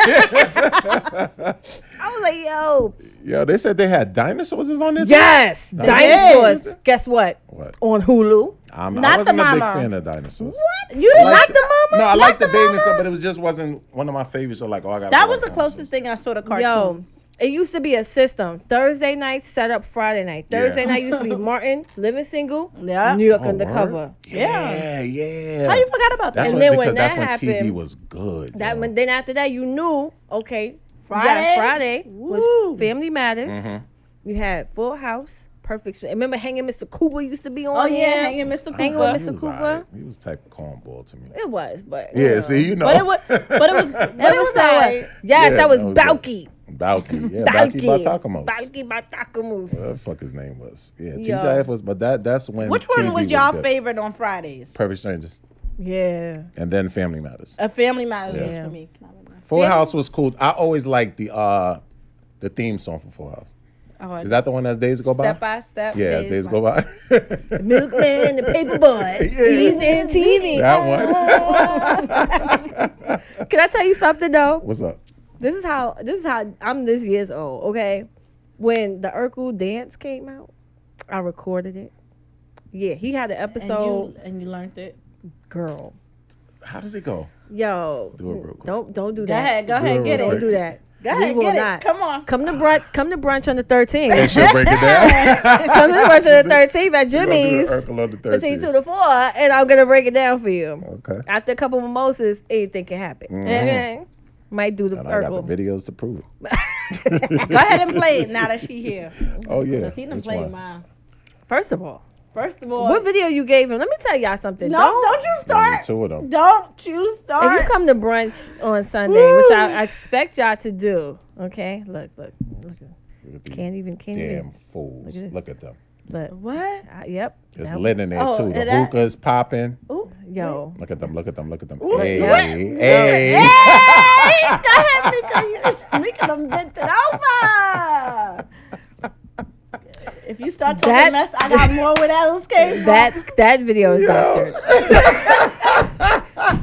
I was like, yo.
Yo, they said they had dinosaurs is on this.
Yes. Dinosaurs.
Yes.
Guess what?
What? Ah.
On Hulu.
I'm, I
Not the
wasn't a big
mama.
fan of dinosaurs.
What? You didn't like, the mama?
No, I
Not
liked the, baby and
mama?
stuff, but it was just wasn't one of my favorites. So like, oh, I got.
That was the closest thing I saw to
Yo,
cartoons.
it used to be a system. Thursday night set up Friday night.
Yeah.
Thursday night used to be Martin, Living Single,
Yeah.
New York
Oh,
Undercover.
word? Yeah, yeah.
How you forgot about
That's
that?
when,
And then
because
when
that's when
that
TV
happened-
was good.
That
yo.
one- then after that you knew okay
Friday?
Friday Friday
Woo.
was Family Matters.
Mm-hmm.
You had Full House, Perfect. Str- Remember Hanging Mr. Cooper used to be on
Oh
here.
yeah, hanging Mr.
Hanging with
Cooper.
He
Mr.
was
Cooper.
alright. He was type of cornball to me.
It was, but
Yeah, see, you know.
But it was, but it was, but
That
it was
was alright.
alright.
Yes,
Yeah,
that was
that was
Balky.
Balky, yeah, Balky
Balky.
Batakamos.
Balky
What
Batakamus.
the fuck his name was? Yeah,
Yo.
TGIF was, but that that's when.
Which one
TV
was y'all
good.
favorite on Fridays?
Perfect Strangers,
Yeah.
and then Family Matters.
A Family Matters
Yeah.
was for me.
Full House was cool. I always liked the uh the theme song for Full House.
Oh, I-
Is that the one that's Days Go By?
step by step?
yeah, Days, Go By.
Milkman the paper boy. Evening TV.
that one.
Can I tell you something though?
What's up?
This is how this is how I'm this years old, okay? When the Urkel dance came out, I recorded it. Yeah, he had an
And you,
episode.
and you learned it.
girl.
How did it go?
Yo,
Do it real quick.
don't don't do
Go
that.
ahead, go
Do it
ahead, get
real
Don't
quick.
it.
do that.
Go ahead,
will
get it.
not.
Come on.
Come to brunch. Come to brunch on the thirteenth.
She'll break it down.
come to brunch on the thirteenth at
We're gonna do
Jimmy's
the Urkel on the
between
13th.
two to four, and I'm gonna break it down for you.
Okay.
After a couple mimosas, anything can happen. Okay, might do the
And Mm-hmm. I got
Urkel.
the videos to prove it.
Go ahead and play it now that she here.
Oh yeah.
Cause he done
Which
played
one?
mine.
First of all,
First of all,
what video you gave him? Let me tell y'all something.
no,
Don't-
don't, you
There's
start.
Two of them.
Don't you start.
If you come to brunch on Sunday, which I, I expect y'all to do, okay? Look, look, look. Can't even, can't
Damn
even.
fools.
at-
Look at them.
Look,
what?
I, yep.
It's
yep.
lit in there
Oh,
too. The
and that-
hookah's popping.
Ooh.
Yo,
Look at them. Look at them. Look at them.
what?
Hey, hey.
Hey, go ahead, Mika. You- Mika done bent it over. If you start talking
That-
mess, I got more where that was came from.
that that video is doctored.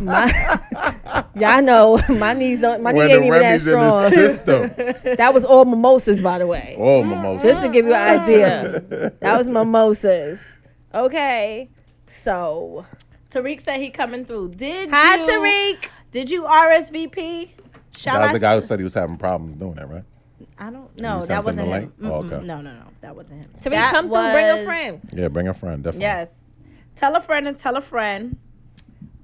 my, y'all know my knees don't, my knee
When
ain't
the
even that
remy's in the
strong.
system.
That was all mimosas, by the way.
Oh, mimosa.
Just to give you an idea, that was mimosas. Okay, so
Tariq said he coming through. Did
hi
you,
Tariq.
Did you RSVP? Shall
That was
I?
the guy who said he was having problems doing that, right?
I don't know.
sent
That
him
wasn't
the
him.
link? Oh,
Mm-mm.
okay.
No, no, no. That wasn't him.
Tariq,
That
come through, bring a
was-
friend.
Yeah, bring a friend, definitely.
Yes. Tell a friend and tell a friend.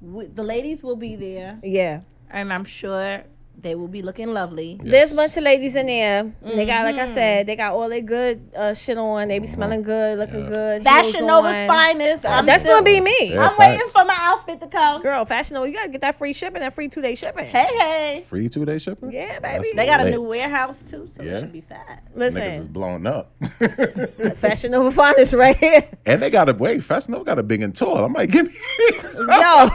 We, the ladies will be there,
Yeah.
and I'm sure they will be looking lovely.
There's a bunch of ladies in there. They got, like I
Mm-hmm.
said, they got all their good uh, shit on. They be smelling
Mm-hmm.
good, looking good.
Fashion
heels
Nova's
on.
finest. I'm
That's
still-
gonna be me.
Yeah.
I'm waiting
Facts.
for my outfit to come.
Girl, Fashion Nova, you gotta get that free shipping, that free two day shipping.
Hey, hey.
Free two day shipping?
Yeah,
That's
baby.
They got a new
lit.
warehouse too, so
Yeah.
it should be fast.
Niggas is
Listen,
blown up.
Fashion Nova finest right here.
and they got a wait, Fast Nova got a big and tall. I'm like, give me
Yo,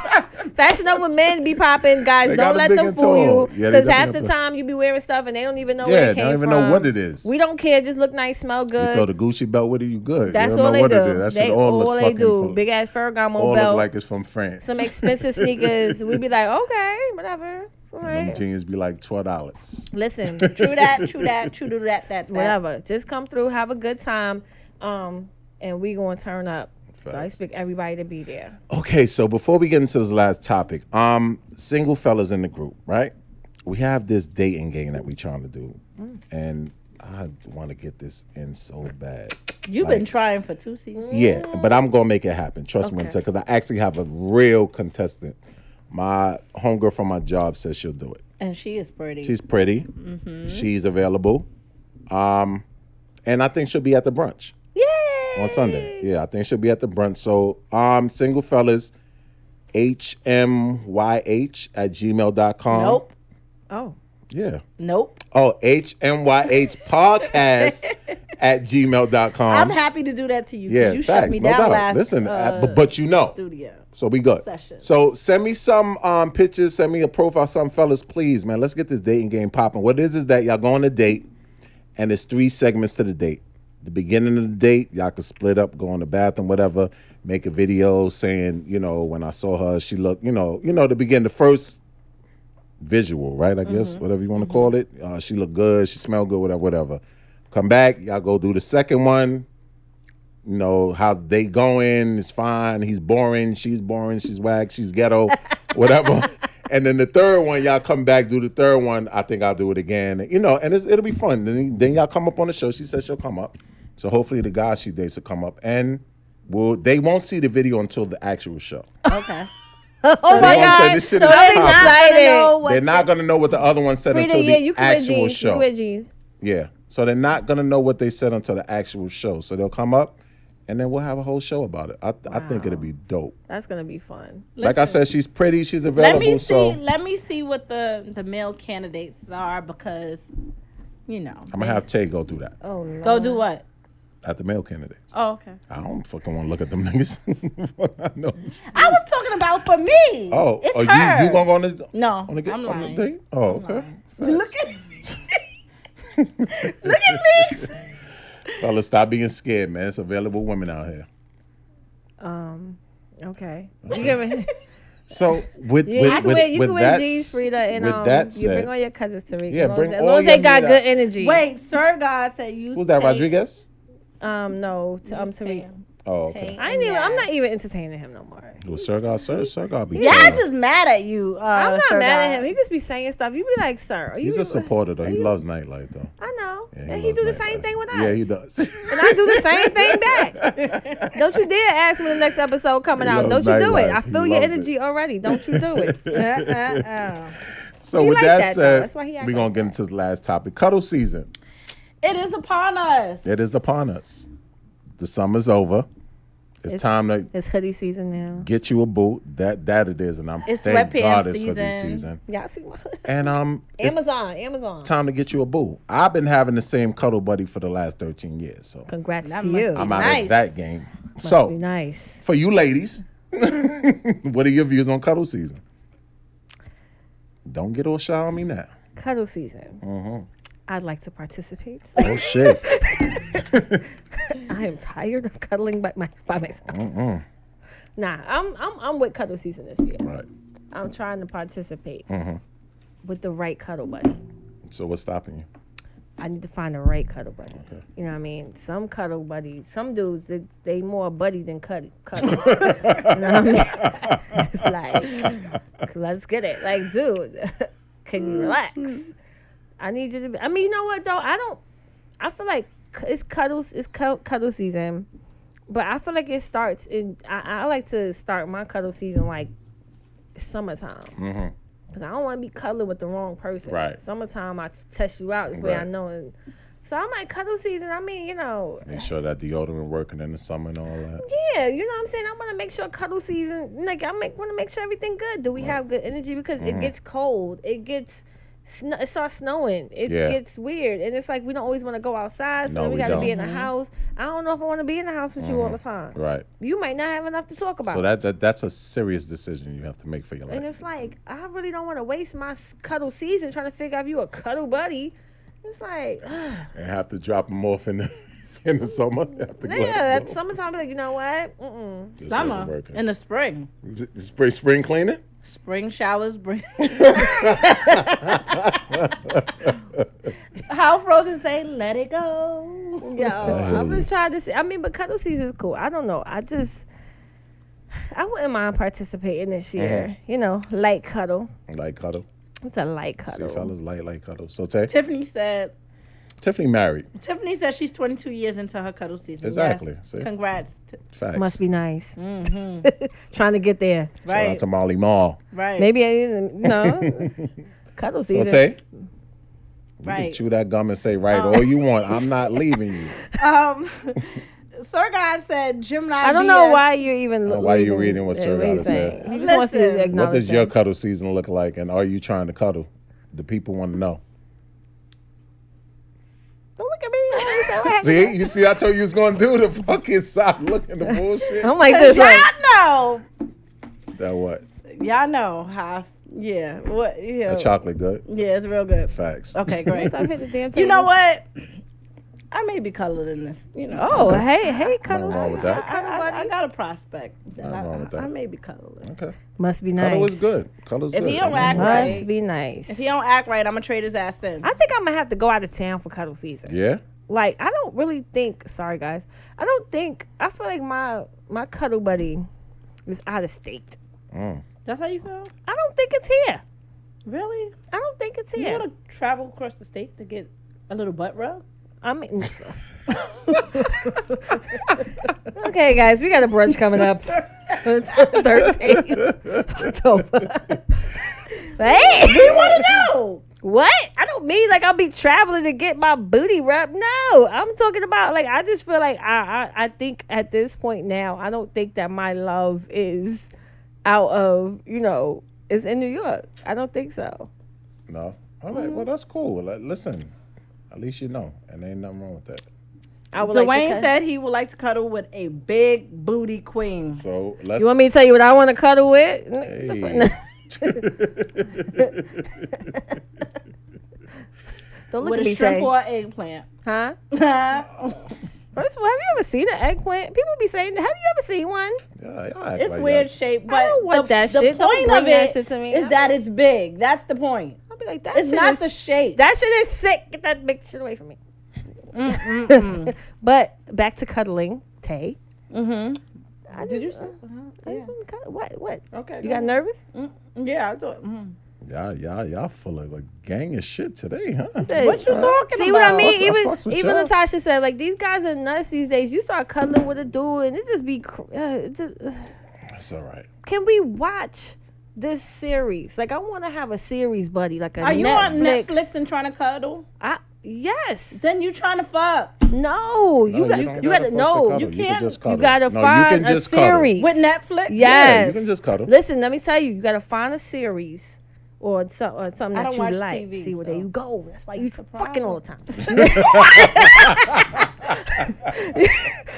Fashion Nova men be popping, guys.
They got
don't
a
let
big
them
and
fool
tall.
you.
Yeah, they
Because half the
definitely-
time you be wearing stuff and they don't even know where
Yeah, they
it came
don't even
from.
know what it is.
We don't care. Just look nice, smell
You throw
good.
the Gucci belt with it, you good.
That's
you don't
all
know
they
what
do.
it is. That
they
shit all look
they
fucking
do.
from-
Big ass Ferragamo
all
belt.
look like it's from France.
some expensive sneakers. We'd be like, okay, whatever. All
Them
right.
jeans be like twelve dollars.
Listen,
True that, true that, true to that, that, that.
whatever. Just come through, have a good time, um, and we gonna turn up. So I
Facts.
expect everybody to be there.
Okay, so before we get into this last topic, um, single fellas in the group, right? We have this dating game that we trying to do,
Mm.
and I want to get this in so bad.
You've been trying for two seasons.
Yeah, but I'm gonna make it happen. Trust me, because I actually have a real contestant. My homegirl from my job says she'll do it.
And she is pretty.
She's pretty.
Mm-hmm.
She's available. Um, and I think she'll be at the brunch
Yay!
on Sunday. Yeah, I think she'll be at the brunch. So, um, single fellas, HMYH at gmail.com.
nope.
Oh,
Yeah.
Nope.
Oh, HMYH podcast at gmail.com.
I'm happy to do that to you. 'cause
yeah,
you shut
facts.
me
no
down
doubt.
last
Listen, uh,
uh,
but, but you know.
studio.
So we good.
Session.
So send me some um, pictures, send me a profile, some fellas, please, man. Let's get this dating game popping. What it is is that y'all go on a date, and there's three segments to the date. The beginning of the date, y'all can split up, go in the bathroom, whatever. Make a video saying, you know, when I saw her, she looked, you know, you know, to begin the first visual, right? I guess whatever you want to call it. Uh, she looked good, she smelled good, whatever, whatever. Come back, y'all go do the second one you know how they going it's fine he's boring she's boring she's whack she's ghetto whatever and then the third one y'all come back do the third one i think i'll do it again you know and it's, it'll be fun then, then y'all come up on the show she says she'll come up so hopefully the guys she dates will come up and will they won't see the video until the actual show
Okay.
oh my
they gonna say
God!
this shit
so
is
I'm
popping.
I don't know
excited.
what
they're not going to know what the other one said
Frida,
until
yeah,
the
you can wear
actual
jeans. You
show
can wear jeans.
yeah. So they're not gonna know what they said until the actual show. So they'll come up, and then we'll have a whole show about it. I, I think it'll be dope.
That's gonna be fun.
like I said, she's pretty. She's
let
available.
me see
so
let me see what the the male candidates are because you know
I'm gonna have Tay go through that
Oh no!
go do what
at the male candidates.
oh okay
I don't fucking want to look at them niggas. I know.
i was talking about for me
Oh,
it's
oh,
her
you you gonna go on the
no
on the, ga-
i'm
on the
lying
date? Oh, okay.
look at look at me
Fellas, stop being scared, man. It's available women out here.
Um. Okay. You can,
So with
yeah,
with,
I can
with,
wear, you
with
can
that
wear jeans,
s-
Frida, and
with
um,
that
you bring
said-
all your cousins to me.
Yeah,
as long
bring
as, as
all
long as
your
they got
meat
good
out.
energy.
wait sir god said you
who's that?
take-
Rodriguez.
Um. No. T- um. Tariq.
Oh, okay.
I ain't even, I'm not even entertaining him no more.
Well, Sir God, Sir, Sir God be
Jazz
chilling.
is mad at you. Uh,
I'm not
Sir
mad
Guy.
at him. He just be saying stuff. You be like, sir, are you?
He's a supporter though. He loves nightlife though.
I know,
Yeah,
and he
loves
do the
nightlife.
same thing with us.
Yeah, he does.
and I do the same thing back. Don't you dare ask when the next episode coming
He
out. Don't
loves
you do it.
nightlife.
I
He
feel your
loves
energy
it.
already. Don't you do it.
Uh-uh-uh.
so
He
with
like
that,
that, though.
said,
That's why he act
we're gonna
like
get into the last topic. Cuddle season.
It is upon us.
It is upon us. The summer's over. It's, time to
It's hoodie season now.
get you a boot. That that it is, and I'm
It's
thank
wet pants
God it's hoodie
season.
season.
Y'all see my
And um, it's
Amazon, Amazon.
time to get you a boo. I've been having the same cuddle buddy for the last 13 years, so
Congrats
That
to
must
you.
be
I'm
Must
out
Nice.
of that game. so
be nice.
for you ladies, what are your views on cuddle season? Don't get all shy on me now.
Cuddle season.
Mm-hmm.
I'd like to participate.
Oh shit.
I am tired of cuddling by, my, by myself. Nah, I'm I'm I'm with cuddle season this year.
right.
I'm trying to participate with the right cuddle buddy.
So what's stopping you?
I need to find the right cuddle buddy.
Okay.
You know what I mean? Some cuddle buddies, some dudes, they, they more buddy than cuddle. cuddle. you know what I mean? It's like, let's get it. Like, dude, can you relax? I need you to be. I mean, you know what though? I don't. I feel like c- it's cuddles. It's cu- cuddle season, but I feel like it starts in. I, I like to start my cuddle season like summertime. Cause I don't want to be cuddling with the wrong person.
Mm-hmm. Right.
Summertime, I t- test you out. This way I
Right.
know. And so I'm like cuddle season. I mean, you know,
Make sure that deodorant working in the summer and all that.
yeah, you know what I'm saying. I want to make sure cuddle season. Like I make want to make sure everything good. Do we have good energy? Because
Mm.
it gets cold. It gets. Snow, it starts snowing. It
Yeah.
gets weird, and it's like we don't always want to go outside, so
No,
then we,
we
got to be in
don't.
the house. I don't know if I want to be in the house with you all the time.
Right.
You might not have enough to talk about.
So that, that that's a serious decision you have to make for your
And
life.
it's like, I really don't want to waste my s- cuddle season trying to figure out if you a cuddle buddy. It's like,
And have to drop them off in the in the summer. Have to go
yeah,
out
at
the door.
summertime, be like, you know what? Mm-mm.
This wasn't
Summer
working.
in the spring.
Spring spring cleaning?
Spring showers bring. How Frozen say, "Let it go."
Yo, I'm just trying to see. I mean, but cuddle season is cool. I don't know. I just, I wouldn't mind participating this year. You know, light cuddle.
Light cuddle.
It's a light
See
cuddle.
fellas, light light cuddle. So Tay,
Tiffany said.
Tiffany married.
Tiffany said she's 22 years into her cuddle season.
Exactly.
Yes.
See?
Congrats. T-
Facts.
Must be nice. Mm-hmm. trying to get there.
Shout
right.
out to Molly Mall.
Right.
Maybe I didn't, no. cuddle
So
season.
Tay, you can
Right. Uh,
chew that gum and say right all you want. I'm not leaving you.
Um. Sir God said Gemini.
I don't know why you're even
know why you're reading what Sir
he's
Gotta said.
saying. He just wants to
Listen.
acknowledge
What does your
that.
cuddle season look like, and are you trying to cuddle? The people want to know.
Don't look at me. I ain't so happy.
See, you see, I told you it's gonna do the fucking stop looking the bullshit.
I'm like
Y'all
this. Like,
know.
that what?
Y'all know how. I- Yeah. What? Yeah.
That chocolate good.
Yeah. It's real good.
Facts.
Oh. Okay. Great.
I hit the damn
you know
table.
what? I may be colored in this. You know.
Oh, hey, hey, cuddles.
wrong with
I,
that.
I, I got a prospect. I,
Nothing wrong with
I- I
that.
may be colored.
Okay.
Must be nice.
Cuddle is good. Cuddle's
If
good.
he
I mean,
don't act right,
Must be nice.
if he don't act right, I'm gonna trade his ass in.
I think I'm gonna have to go out of town for cuddle season.
Yeah.
Like, I don't really think. Sorry, guys. I don't think. I feel like my my cuddle buddy is out of state.
That's how you feel?
I don't think it's here.
Really?
I don't think it's
You
here.
wanna travel across the state to get a little butt rub?
I mean. okay, guys, we got a brunch coming up. It's on 13th October. Hey,
wanna know?
what? I don't mean like I'll be traveling to get my booty rub. No, I'm talking about like I just feel like I, I I think at this point now I don't think that my love is out of you know is in New York. I don't think so.
No. All
Mm.
right. Well, that's cool. Like, listen, at least you know, and ain't nothing wrong with that.
I would like to
Dwayne
cut-
said he would like to cuddle with a big booty queen.
So let's.
"You want me to tell you what I want to cuddle with?" N- the
Hey.
fu- Don't look
With
at
a
me,
shrimp
Tay.
or an eggplant.
Huh?
it's
First of all, have you ever seen an eggplant? People be saying, "Have you ever seen one?"
Yeah, y'all act like
weird
y'all-
shape, but
I don't want
the,
that
the
shit. Don't
point
bring
of
that
it
shit to me.
is
I-
that it's big. That's the point.
I'll be like, "That
It's
shit
not
is-
the shape.
That shit is sick. Get that big shit away from me." but back to cuddling, Tay. I
Did you?
just-
say-
uh,
Mm-hmm. uh-huh,
I
yeah.
just wanna cut- What? What?
Okay.
You
go
got nervous?
on. Mm, yeah, I thought.
Mm-hmm.
Mm.
Y'all, y'all, y'all full of like gang of shit today, huh?
What you
talking
See what I
about?
Fucks-
mean?
I
even
fucks with
even
y'all.
Latasha said, like these guys are nuts these days. You start cuddling with a dude, and it just be. Cr- uh, it just- ugh.
That's all right.
can we watch this series? Like I want to have a series, buddy. Like a
Are
Netflix.
you on Netflix and trying to cuddle?
I, yes.
Then you trying to fuck
no.
No,
You got.
don't
You got to
fuck the
know.
cuddle.
You,
can
can't-
just
you
cuddle.
got to
No,
find
you can just
a
cuddle.
series
with Netflix.
Yeah,
Yes.
you can just cuddle.
Listen, let me tell you. You got to find a series. Or, some, or something
I
that
don't
you
watch
like.
TV,
See, well,
so
there you go. That's why you
that's the
fucking
problem.
all the time.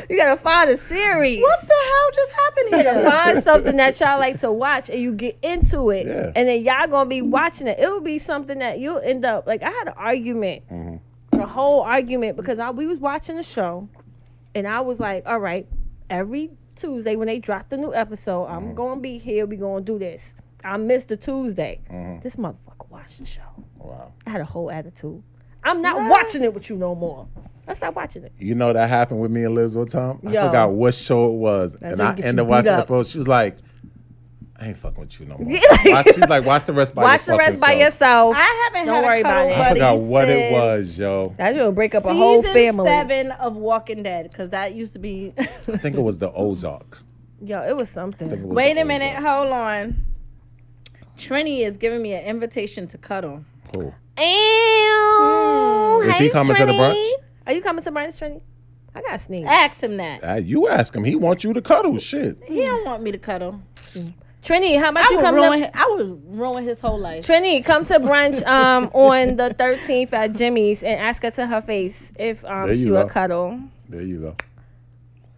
you gotta find a series.
What the hell just happened
You gotta
here?
find something that y'all like to watch and you get into it.
Yeah.
And then y'all gonna be watching it. It will be something that you'll end up like I had an argument.
Mm-hmm.
A whole argument because I we was watching the show and I was like, all right, every Tuesday when they drop the new episode,
Mm-hmm.
I'm gonna be here, we gonna do this. I missed the Tuesday.
Mm-hmm.
This motherfucker watching the show.
Wow.
I had a whole attitude. I'm not watching it with you no more. I stopped watching it.
You know that happened with me and Liz one time. I
Yo.
forgot what show it was, and
just
I
get
ended
you
up watching
beat
the
up.
post. She was like, "I ain't fucking with you no more."
Yeah, like-
Watch- she's like, "Watch the rest by
Watch the
your
rest by
fucking self."
yourself.
I haven't
Don't
had
worry
a
about
cuddle
it.
I
buddy
forgot what it
since
was, yo.
That's gonna break up a whole
season
family.
Seven of Walking Dead, because that used to be.
I think it was the Ozark.
Yo, it was something.
I think it was
Wait
the
a minute,
Ozark.
hold on. Trini is giving me an invitation to cuddle. Hmm.
Cool.
Ew.
Is he coming to the brunch?
Are you coming to brunch, Trini? I got sneeze.
Ask him that.
Ah, you ask him. He wants you to cuddle. Shit.
He don't want me to cuddle.
Trini, how about
I
you
would,
come
ruin,
to
hi- I would ruin his whole life.
Trini, come to brunch um on the 13th at Jimmy's and ask her to her face if um
There
she
you
will
go.
cuddle.
There you go.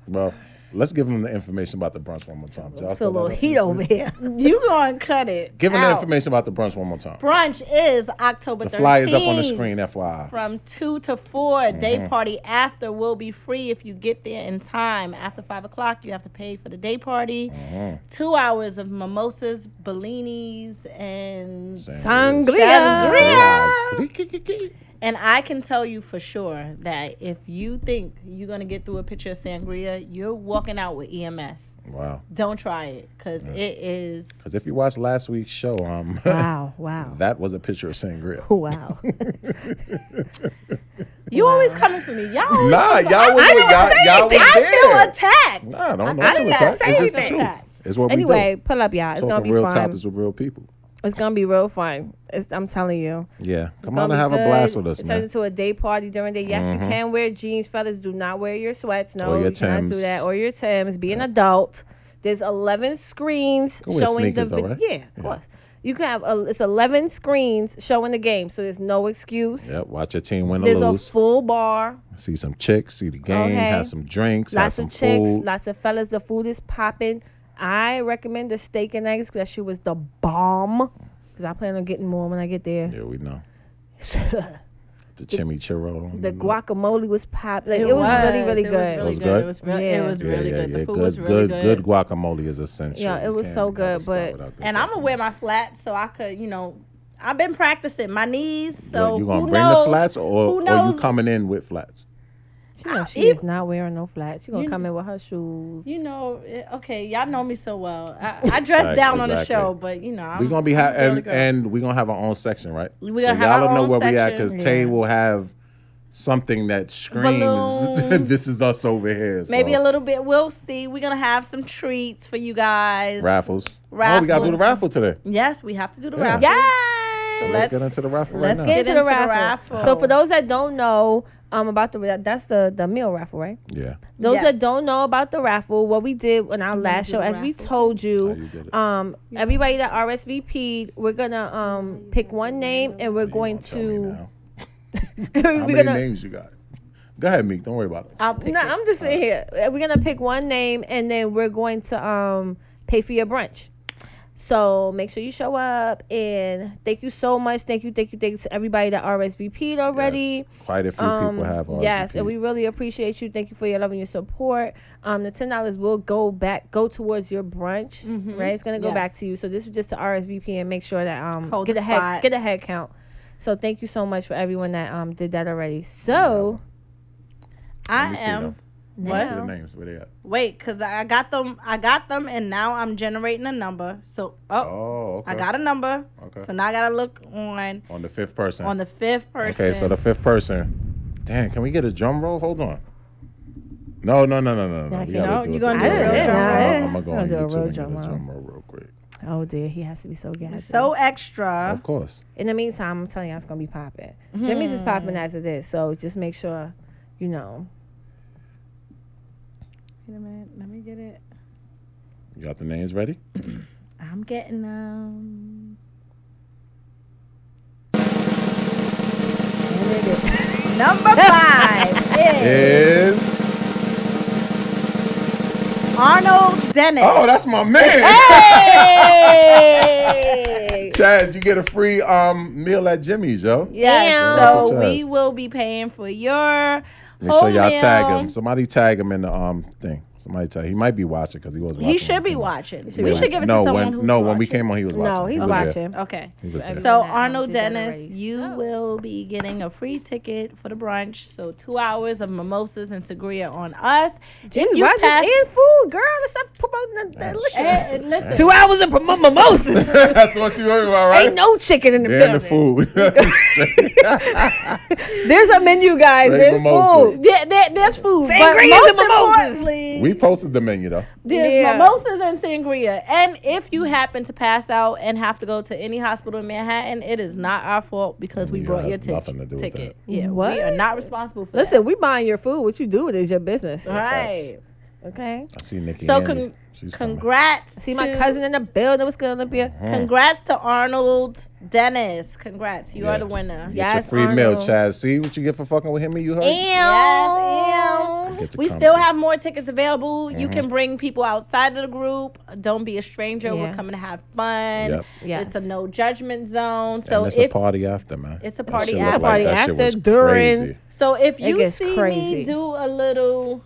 Well, let's give him the information about the brunch one more time. Y'all
Feel a
still
little
have it?
heat over here.
You gonna cut it.
Give him the
out.
information about the brunch one more time.
Brunch is October
The
13th.
fly is up on the screen, FYI.
From 2 to 4,
Mm-hmm.
day party after will be free if you get there in time. After 5 o'clock, you have to pay for the day party.
Mm-hmm.
Two hours of mimosas, bellinis, and
Sangria.
Sangria.
And I can tell you for sure that if you think you're gonna get through a picture of sangria, you're walking out with EMS.
Wow.
Don't try it, cause it is.
Because if you watched last week's show, um,
Wow, wow.
that was a picture of sangria.
Wow.
You always coming for me, y'all. always-
Nah, y'all was, y'all, y'all was
I
there.
feel attacked.
Nah, don't know.
I didn't
it's,
say
it's just the
anything.
truth. It's what
anyway,
we do.
pull up, y'all. It's gonna
Talking
be
real
fun.
topics with real people.
It's gonna be real fun. It's, I'm telling you.
Yeah, come
gonna
on and
be
have
good.
a blast with us,
It
man. Mm-hmm.
turns into a day party during the day. Yes, you can wear jeans, fellas. Do not wear your sweats. No,
Or your
you cannot do
Tims.
that. Or your Tims. Be an adult. There's 11 screens
can wear
showing
sneakers
the
though,
vi-
right?
yeah, of course. You can have a, it's 11 screens showing the game, so there's no excuse.
Yep, watch your team win or
There's a
lose.
full bar,
see some chicks, see the game,
Okay.
have some drinks, have
lots
some
of chicks,
food.
lots of fellas. The food is popping. I recommend the steak and eggs. 'cause That shit was the bomb. Cause I plan on getting more when I get there.
yeah, we know. the chimichurro. on
The
note.
guacamole was pop. Like it, was, really, really
it
good.
Was really
It was
good.
good?
It was, re-
Yeah.
it was
Yeah,
really
yeah,
good.
yeah.
The food
good,
was really
good, good
good.
guacamole is essential.
Yeah, it
You
was
can't
so
have a
good,
spot
but-
without that
And I'm gonna wear my flats so I could, you know, I've been practicing my knees. So
you gonna
who
bring
knows?
the flats, or,
who
or you
knows?
coming in with flats?
She know she
ev-
is not wearing no flats. She gonna
You-
come in with her shoes.
You know, eh, okay, y'all know me so well. I, I dress down on the
exactly.
show, but you know, I'm,
We're gonna be ha-
I'm
and,
girl.
and we're gonna have our own section, right?
We
so
gonna have
y'all
our
don't know
own
where we at because
section.
Tay will have something that screams,
Balloons.
"This is us over here." So.
Maybe a little bit. We'll see. We're gonna have some treats for you guys.
raffles. Oh, we gotta do the raffle today.
Yes, we have to do the
Yeah.
raffle.
Yay!
Let's,
Let's-
get into the raffle
let's
right
get
now.
Into the
into the
raffle.
raffle.
So for those that don't know um about the ra- that's the the meal raffle, right?
yeah,
Those
Yes.
that don't know about the raffle, what we did on our last show, as we told you,
Oh, you did it.
um, everybody that RSVP'd, we're gonna um pick one name and we're going
Don't tell me
to
now. How
we're
many
gonna
names you got? Go ahead, Meek. Don't worry about it.
I'll pick
no, I'm just sitting here. We're gonna pick one name and then we're going to um pay for your brunch. So make sure you show up and thank you so much. Thank you, thank you, thank you to everybody that RSVP'd already. Um,
Yes. Quite a few
um,
people have RSVP.
Yes, and we really appreciate you. Thank you for your love and your support. Um, the ten dollars will go back, go towards your brunch, right? It's gonna go
Mm-hmm. Yes.
back to you. So this is just to RSVP and make sure that um
Hold
get
the
a head
spot.
get a head count. So thank you so much for everyone that um did that already. So
I
Let me see,
am
though. What? See the
Now.
names where they at?
Wait, cause I got them. I got them, and now I'm generating a number. So oh,
Oh, okay.
I got a number.
Okay.
So now I gotta look on
on the fifth person.
on the fifth person.
Okay, so the fifth person. Damn, can we get a drum roll? Hold on. No, no, no, no, no, no. We
can't.
gotta
No,
do
you
it
gonna
the
do a
way
real
it is.
drum
I'm,
roll?
I'm gonna go
I'll
on
do a
YouTube
real
and get a
drum roll.
drum roll real quick.
Oh dear, he has to be so gassy.
so extra.
Of course.
in the meantime, I'm telling you, all it's gonna be popping. Jimmy's is popping as it is, so just make sure, you know.
Wait a minute, let me get it.
You got the names ready?
I'm getting um. Number five is
Is
Arnold Dennis.
oh, that's my man. Chaz, you get a free um meal at Jimmy's, yo.
Yes.
Damn.
So
Lots of
we
chairs.
will be paying for your
Make sure y'all
whole
tag
meal.
him. Somebody tag him in the um thing. Somebody tag. He might be watching because he was. watching
He should
when
be
we came on.
watching. We
Yeah,
should give it
no,
to someone
when,
who's
No,
watching.
when we came on, he was watching.
No, he's
He was there.
watching.
Okay.
He was there.
So
that one
Arnold
did that
Dennis,
already.
you
So-
will be getting a free ticket for the brunch. So two hours of mimosas and sangria on us.
Jimmy's
if you
watching
pass,
and food, girl. Let's stop promoting the, the liquor.
Hey, listen.
Two hours of promo- mimosas.
That's what you worried about, right?
Ain't no chicken in the
They're in the
building.
food.
There's a menu, guys.
Great
There's
mimosas.
food.
There, there, there's food. but
Sangria's
most
and mimosas.
importantly,
we posted the menu though.
There's
Yeah.
mimosas and
sangria. And if you happen to pass out and have to go to any hospital in Manhattan, it is not our fault because we
Yeah,
brought your
has
tic-
nothing to do with
ticket.
that.
Yeah,
What?
we are not responsible for
Listen, we buying your food. What you do with it is your business.
that. Right.
Okay.
I see Nikki.
So
Handy.
con-
She's coming.
congrats.
See my
to-
cousin Mm. in the building. What's good, Olympia?
Uh-huh.
Congrats to Arnold Dennis. Congrats. You
Yeah.
are the winner.
Get your
Yes,
free meal,
Arnold.
Chaz. See what you get for fucking with him and you heard.
Yes,
Get to
we
come. Mm-hmm.
still have more tickets available. You can bring people outside of the group. Don't be a stranger. We're
Yeah.
coming to have fun.
Yep.
Yes.
It's a no judgment zone.
And
So
it's
if
a party after, man.
It's a
That
party
shit looked
after.
like that shit
Party
was
after, during.
crazy.
so if you
gets
see me
crazy.
do a little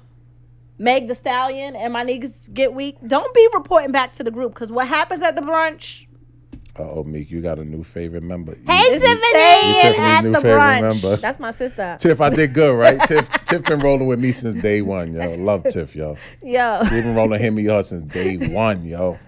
Meg the Stallion and my niggas get weak, don't be reporting back to the group because what happens at the brunch
Uh oh, Meek, you got a new favorite member.
is staying at
new
the
favorite
brunch.
member.
That's my sister.
Tiff, I did good, right? Tiff, Tiff been rolling with me since day one, yo. Love Tiff, yo.
Yo.
She been rolling him and her since day one, yo. All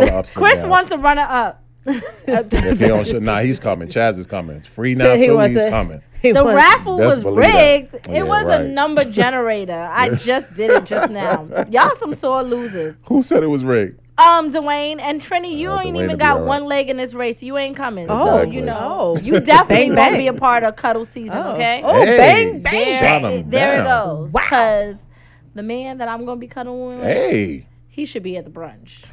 the ups and
Chris
downs.
wants a runner up.
If he don't show, nah, he's coming. Chaz is coming. It's free now,
He
too.
wants
He's
it.
coming.
The
He
raffle
Best
was
believe that.
rigged.
it
Yeah,
was
right.
a number generator. I just did it just now. Y'all some sore losers.
Who said it was rigged?
Um, Dwayne and Trini, you
Oh,
ain't
Dwayne will
even
be
got
all right.
one leg in this race. You ain't coming. So
Exactly.
you know,
Oh.
you definitely
Bang,
won't
bang.
be a part of cuddle season.
Oh.
Okay.
Oh, bang, bang.
Shot
There,
him
there it
down.
goes. Because the man that I'm gonna be cuddling with,
Hey,
he should be at the brunch.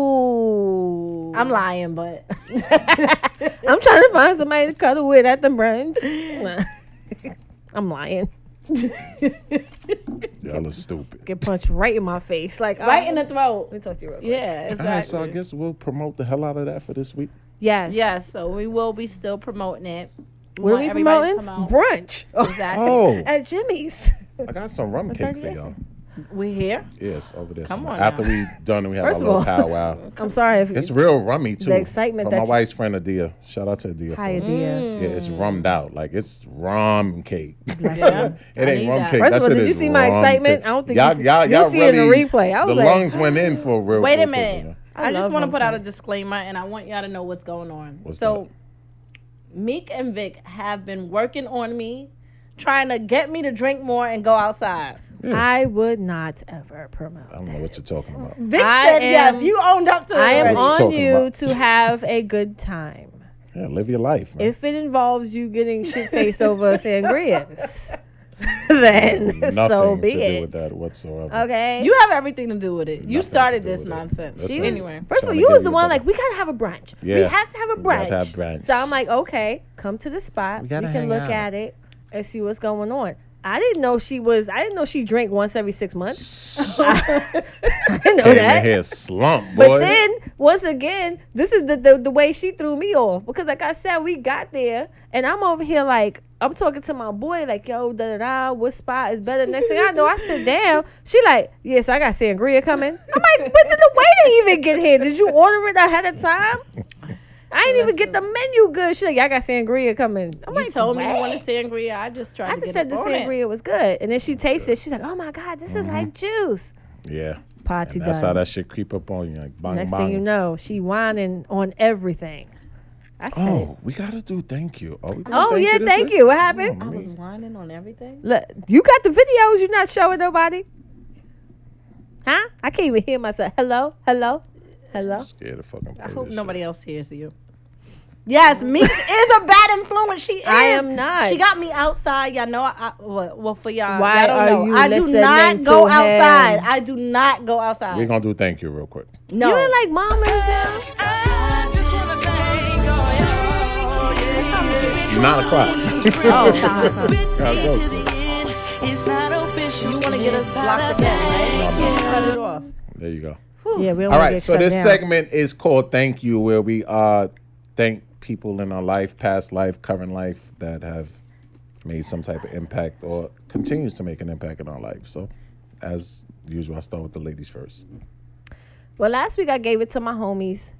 Ooh.
I'm lying, but
I'm trying to find somebody to cuddle with at the brunch. Nah. I'm lying.
y'all are stupid.
Get punched right in my face. Like
right
oh,
in the
Let
throat.
me talk to you real quick.
Yeah,
All right, so I
exactly.
guess we'll promote the hell out of that for this week.
Yes.
Yeah, so we will be still promoting it. We
What are
want
we
everybody to
promoting?
come out.
Brunch.
Exactly.
Oh,
At Jimmy's.
I got some rum cake for y'all.
We're here.
Yes, over there.
Come
somewhere.
on
After
now.
we done, and we have
First
our
of
little
all-
powwow.
I'm sorry if
It's real rummy too.
excitement
from
that
my
you-
wife's friend Adia. Shout out to Adia. for
Hi,
it.
Mm.
dear.
Yeah, it's rummed out. Like it's rum cake.
Yeah.
It
need
ain't rum
that.
cake.
First
That
of all,
shit
did you
is
see my
rum
excitement?
cake.
I don't think you
y'all,
see-
y'all,
you
y'all
see it in the
really-
replay. I was
the
like,
lungs went in for a real.
Wait
real
a
good, you
minute.
know?
I, just
love
want to
Rum
put out a disclaimer, and I want y'all to know what's going on.
What's
so, Meek and Vic have been working on me, trying to get me to drink more and go outside.
Mm. I would not ever
I
promote.
don't know what you're talking about.
Vic
I
said yes.
am-
You owned up to it.
I
already.
am
What you
on
talking
you
about?
to have a good time.
Yeah, live your life, man.
If it involves you getting shit faced over sangrias, then
Nothing
so
to
be
do
it.
with that whatsoever.
Okay.
You have everything to do with it.
Nothing
you
to
started
do
this
with it.
nonsense.
That's
She-
it.
anyway,
First of all,
Trying to
you
give
was the
you
one
the-
like, we gotta have a brunch. We
Yeah.
have to have a
We
brunch.
gotta have brunch.
So I'm like, okay, come to the spot. We,
gotta
can
hang
look
out.
at it and see what's going on. I didn't know she was. I didn't know she drank once every six months. I didn't know
Came
that.
in here slump, boy.
But then once again, this is the, the the way she threw me off because like I said, we got there and I'm over here like I'm talking to my boy like yo da da da what spot is better. Next thing I know, I sit down. She like yes, I got sangria coming. I'm like, but did the waiter even get here? Did you order it ahead of time? I didn't even get the menu good. She like, y'all got sangria coming. I'm
You
like,
told me you
what?
wanted sangria. I just tried
I
to
just
get
said
said
the
it on it.
sangria was good, and then she tasted. it. She's like, oh my god, this is like juice.
Yeah.
Party
Mm-hmm. And that's how
done.
that shit creep up on you, like bang
Next
bang.
thing you know, she whining on everything. I said,
oh, we gotta do thank you. Are we doing
Oh,
thank
yeah,
you this
thank
week? Oh,
you. What happened?
Come
I
on,
was
man.
whining on everything.
Look, you got the videos. You're not showing nobody, huh? I can't even hear myself. Hello, hello, hello.
I'm scared to fucking. Play
I hope
this
nobody else hears you.
Yes, me is a bad influence. She is.
I am not.
She got me outside. Y'all know. I, I well, well, for y'all. y'all
Why
don't
are
know.
you
I do
listening
not go
to
outside.
him?
I do not go
Shit. We're
outside.
gonna do thank you real quick.
No.
You ain't like mama. Zell.
Nine o'clock. Gotta go.
It's not official.
You want to get us blocked again, right? Cut it off.
There you go.
Yeah, we don't
All
wanna
right,
get
so
shut
this
down.
segment is called Thank You, where we uh thank people in our life, past life, current life that have made some type of impact or continues to make an impact in our life. So, as usual, I start with the ladies first.
Well, last week I gave it to my homies.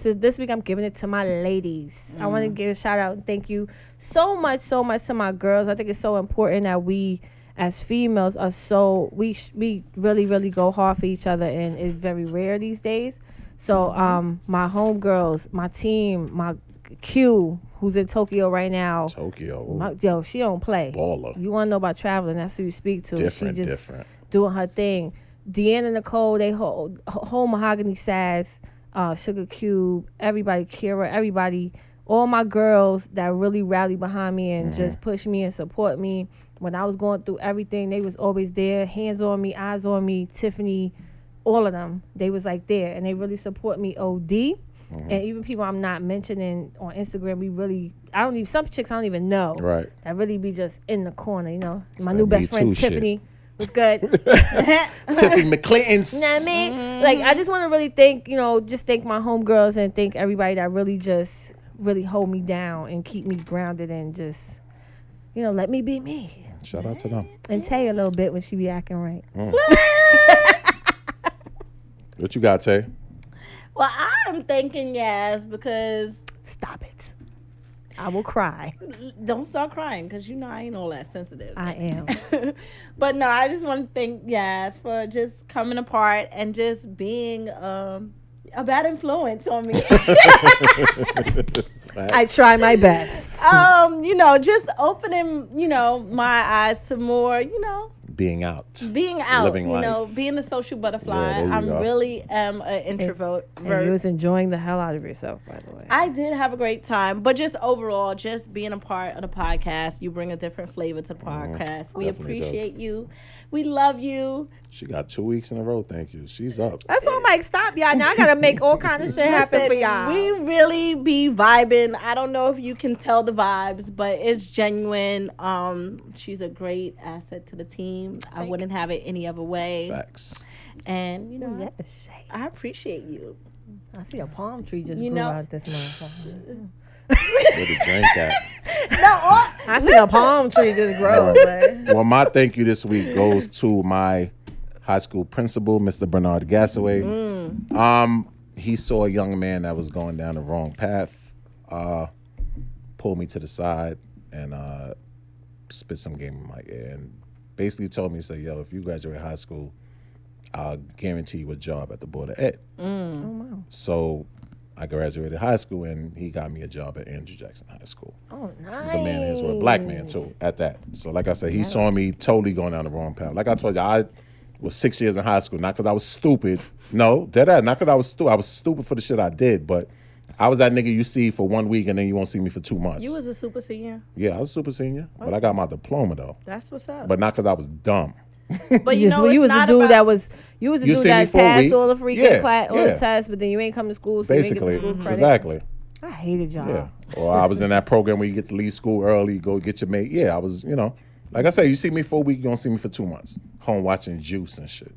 To this week I'm giving it to my ladies. I want to give a shout out and thank you so much, so much to my girls. I think it's so important that we, as females, are so we sh- we really really go hard for each other, and it's very rare these days. So um, my homegirls, my team, my Q, who's in Tokyo right now.
Tokyo, ooh,
My, yo, she don't play.
Baller.
You want to know about traveling? That's who you speak to.
different,
she just
different.
doing her thing. Deanna Nicole, they whole, whole mahogany size, uh, Sugar Cube, everybody, Kira, everybody, all my girls that really rallied behind me
Mm-hmm.
and just pushed me and support me. When I was going through everything, they was always there, hands on me, eyes on me. Tiffany, all of them, they was like there, and they really support me. Od.
Mm-hmm.
And even people I'm not mentioning on Instagram, we really, I don't even, some chicks I don't even know.
Right.
That really be just in the corner, you know. My
that
new
Me
best
Too
friend,
shit.
Tiffany, was good.
Tiffany McClinton's.
You know what I mean? Like, I just want to really thank, you know, just thank my homegirls and thank everybody that really just really hold me down and keep me grounded and just, you know, let me be me.
Shout out to them.
And Tay a little bit when she be acting right.
Mm. What you got, Tay?
Well, I'm thinking yes because
Stop it. I will cry.
Don't start crying because you know I ain't all that sensitive.
I am.
but no, I just want to thank Yas for just coming apart and just being um, a bad influence on me.
I try my best.
um, you know, just opening, you know, my eyes to more, you know,
Being out.
being out,
Living
you
life.
know, being a social butterfly.
Yeah, there you
I am
go.
really am an introvert.
And you was enjoying the hell out of yourself, by the way.
I did have a great time, but just overall, just being a part of the podcast, you bring a different flavor to the podcast. we
Mm-hmm. definitely
appreciate you. We love you.
She got two weeks in a row. Thank you. She's up.
That's why I'm like, stop, y'all. Now I gotta make all kind of shit happen for y'all.
We really be vibing. I don't know if you can tell the vibes, but it's genuine. Um, she's a great asset to the team. I wouldn't have it any other way.
Facts.
And you know,
yes, shade.
I appreciate you.
I see a palm tree just
You
grew
know-
out this motherfucker.
Where the drink at?
I see a palm tree just grow. Oh, man.
well, my thank you this week goes to my high school principal, Mr. Bernard Gasaway. Um, he saw a young man that was going down the wrong path, uh, pulled me to the side, and uh, spit some game in my ear, and basically told me, "Say, yo, if you graduate high school, I'll guarantee you a job at the board of ed." So. I graduated high school and he got me a job at Andrew Jackson High School.
Oh, nice.
He's a man as well, black man too. At that, so like I said, he saw me totally going down the wrong path. Like I told you, I was six years in high school, not because I was stupid. No, dead ass, not because I was stupid. I was stupid for the shit I did, but I was that nigga you see for one week and then you won't see me for two months.
You was a super senior.
yeah, I was super senior, but I got my diploma though,
That's what's up.
but not because I was dumb.
But you
Yes,
know,
well, you
it's
was the
not
dude
about-
that was you was the
You
dude
see me
that
for a
passed
week.
all the freaking
Yeah,
class, all
yeah.
the tests, but then you ain't come to school, so you
Basically,
didn't get the school credit.
exactly.
I hated y'all.
Yeah. Or I was in that program where you get to leave school early, go get your mate. Yeah, I was, you know, like I said, you see me for a week, you don't see me for two months. Home watching juice and shit.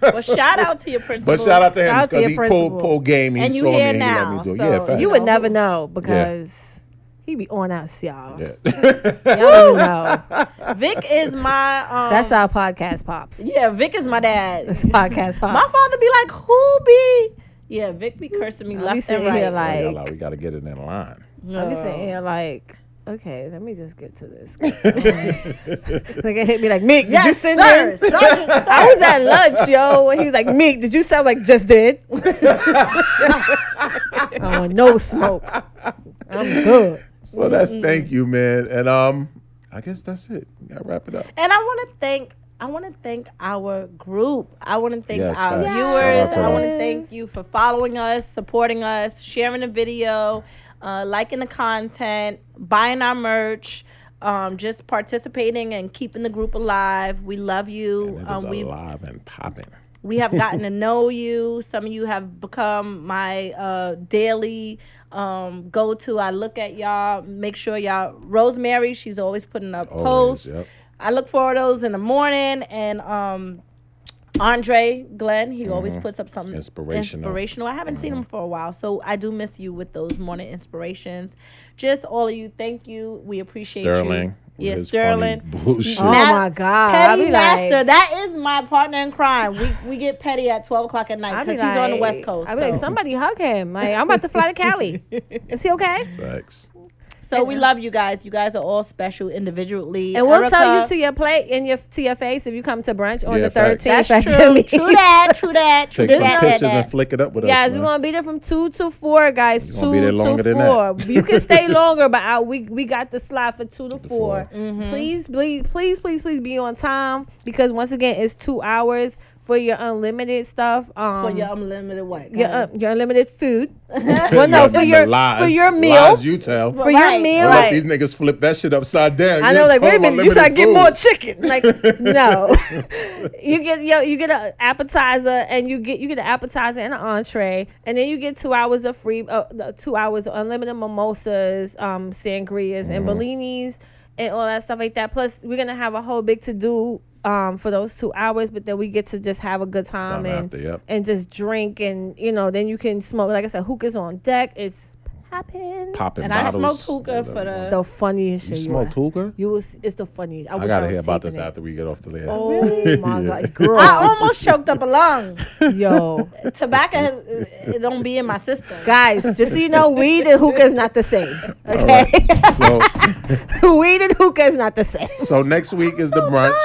Well, shout out to your principal.
But shout out to him
Shout out to
because
your
he
principal.
pulled, pulled game. He
And you
saw me
here
and he let
now,
me do it.
so
yeah, facts.
You would
No.
never know because he be on us, y'all.
yeah.
Y'all don't know.
Vic is my. Um,
That's our podcast pops.
yeah. Vic is my dad.
Podcast pops.
My father be like, "Who be Yeah, Vic be cursing me
I be
left and
sitting here
right.
We
like,
gotta, we gotta get it in line.
I be sitting here like, okay, let me just get to this. like it hit me like, Mick, did you
Yes,
send
sir,
her?
sir,
I was at lunch, yo, and he was like, Mick, did you sound like just did? I don't want no smoke. I'm good.
So that's thank you, man. And um, I guess that's it. We gotta wrap it up.
And I want to thank. I want to thank our group. I want to thank
Yes,
our
facts.
viewers.
Shout out to
I want to
them.
thank you for following us, supporting us, sharing the video, uh, liking the content, buying our merch, um, just participating and keeping the group alive. We love
And
you.
it is
Um, we've
alive and popping.
we have gotten to know you. Some of you have become my uh, daily um, go to. I look at y'all, make sure y'all. Rosemary, she's always putting up
Always,
posts.
yep.
I look for those in the morning. And um, Andre Glenn, he always puts up something
Mm-hmm. Inspirational. Mm-hmm.
inspirational. I haven't seen him for a while, so I do miss you with those morning inspirations. Just all of you, thank you. We appreciate
Sterling. with
you. Yeah,
his
Sterling.
funny Bullshit.
Oh my God. I
Petty
be
Master,
like-
that is my partner in crime. We we get petty at twelve o'clock at night
I be
because he's on the West
like-
Coast.
I be like,
so
somebody hug him. Like, I'm about to fly to Cali. Is he okay?
Facts.
so we love you guys. You guys are all special individually.
And we'll tell you
Erica-
to your plate and your to your face if you come to brunch on
Yeah,
the
facts.
thirteenth.
That's true. True that. True that. True
Take
that.
some
that,
pictures
that.
and flick it up with
Guys,
us.
we're
man.
gonna be there from two to four, guys.
You
Two
gonna be there longer
to
than
four.
that.
You can stay longer, but I, we we got the slot for two to
four. Mm-hmm.
4 Please, please, please, please, please be on time because once again, it's two hours for your unlimited stuff. Um,
For your unlimited what?
your, uh, your unlimited food.
well,
no, for your- for your meal.
Lies you tell.
For
Right,
your meal,
Well,
right.
look, These niggas flip that shit upside down.
I
You
know, like, wait a
told
minute, you
unlimited
said get
food.
more chicken. Like, no, you get yo, you get an appetizer, and you get you get an appetizer and an entree, and then you get two hours of free, uh, the two hours of unlimited mimosas, um, sangrias,
Mm-hmm.
and bellinis, and all that stuff like that. Plus, we're gonna have a whole big to do. Um, for those two hours, but then we get to just have a good
Time
time, and
after, yep.
and just drink, and you know, then you can smoke. Like I said, hookah's on deck. It's popping.
Popping
And I
bottles.
smoked hookah for the.
The funniest
You
shit.
smoked hookah?
You was it's the funniest. I,
I
wish
gotta
was
hear about
taking
this
it.
after we get off the air.
Oh my
Yeah.
god, girl,
I almost choked up a lung.
yo,
Tobacco, has, it don't be in my system.
guys, just so you know, weed and hookah is not the same.
All
Okay,
right. so,
weed and hookah is not the same.
so next week is the brunch,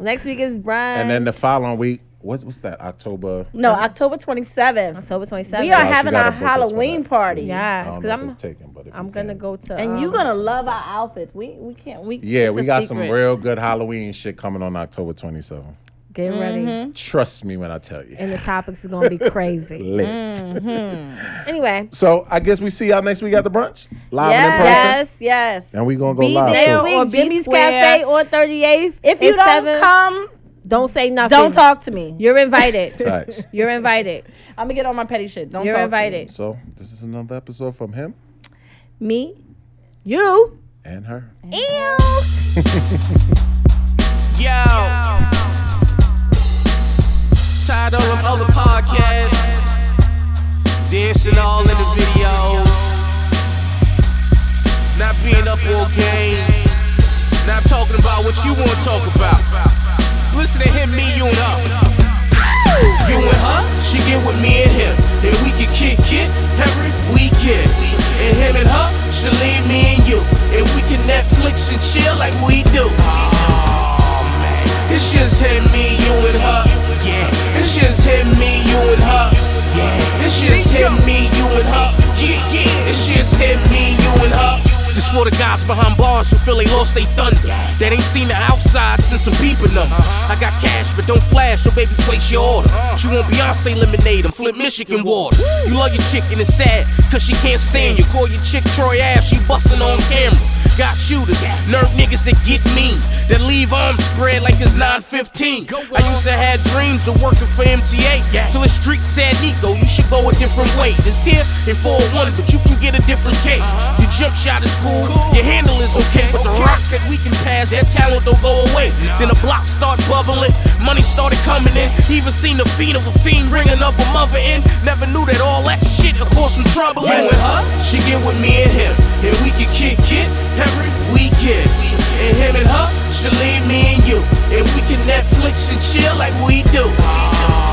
Next week is brunch,
and then the following week, what's what's that? October.
No, October twenty seventh.
October twenty seventh.
We are
she
having
gotta
our
book us for
Halloween
that.
party.
I
yes,
don't
because
know if it's
I'm
taken, but if
I'm
you
gonna
can.
go to
And
um,
you're gonna love our outfits. We we can't we
Yeah,
it's
we
a
got some
secret.
real good Halloween shit coming on October 27th.
get ready,
Trust me when I tell you.
and mm. the topics is gonna be crazy.
Lit.
Anyway,
So I guess we see y'all next week at the brunch, live and in person,
Yes, yes, yes.
and we gonna go
Be
live.
there
So-
next
or
week
be
Jimmy's
square.
Cafe on thirty eighth.
If you don't come,
don't say nothing.
don't talk to me.
You're invited.
Facts.
You're invited.
I'm gonna get on my petty shit. Don't
You're
talk
invited.
So this is another episode from him
to me. Me
You.
and her.
Yo. Tired of them other podcasts. Dancing all in the videos. Not being up all game. Not talking about what you want to talk about. Listen to him, me, you, and her. You and her, she get with me and him. And we can kick it every weekend. And him and her, she leave me and you. And we can Netflix and chill like we do. Aw, man. It's just him, me, you and her. Yeah. It's just him, me, you and her. Yeah. It's just him, me, you and her. Yeah, yeah. It's just him, me, you and her. Just for the guys behind bars who feel they lost they thunder. That ain't seen the outside since I'm peeping them. I got cash, but don't flash, so baby, place your order. She want Beyonce lemonade and flip Michigan water. You love your chick and it's sad, cause she can't stand you. Call your chick Troy ass, she bustin' on camera. Got shooters, nerve niggas that get mean, that leave arms spread like it's 915. I used to have dreams of working for MTA, till the street said, Nico, you should go a different way. This here in 401, but you can get a different cake. Your jump shot is Uh-huh. cool, your handle is okay, but the rock that we can pass, that talent don't go away. Then the block start bubbling, money started coming in. Even seen the fiend of a fiend ringing up a mother in. Never knew that all that shit would cause some trouble. You and her, she get with me and him, and we can kick it every weekend. And him and her, she leave me and you, and we can Netflix and chill like we do. Aw,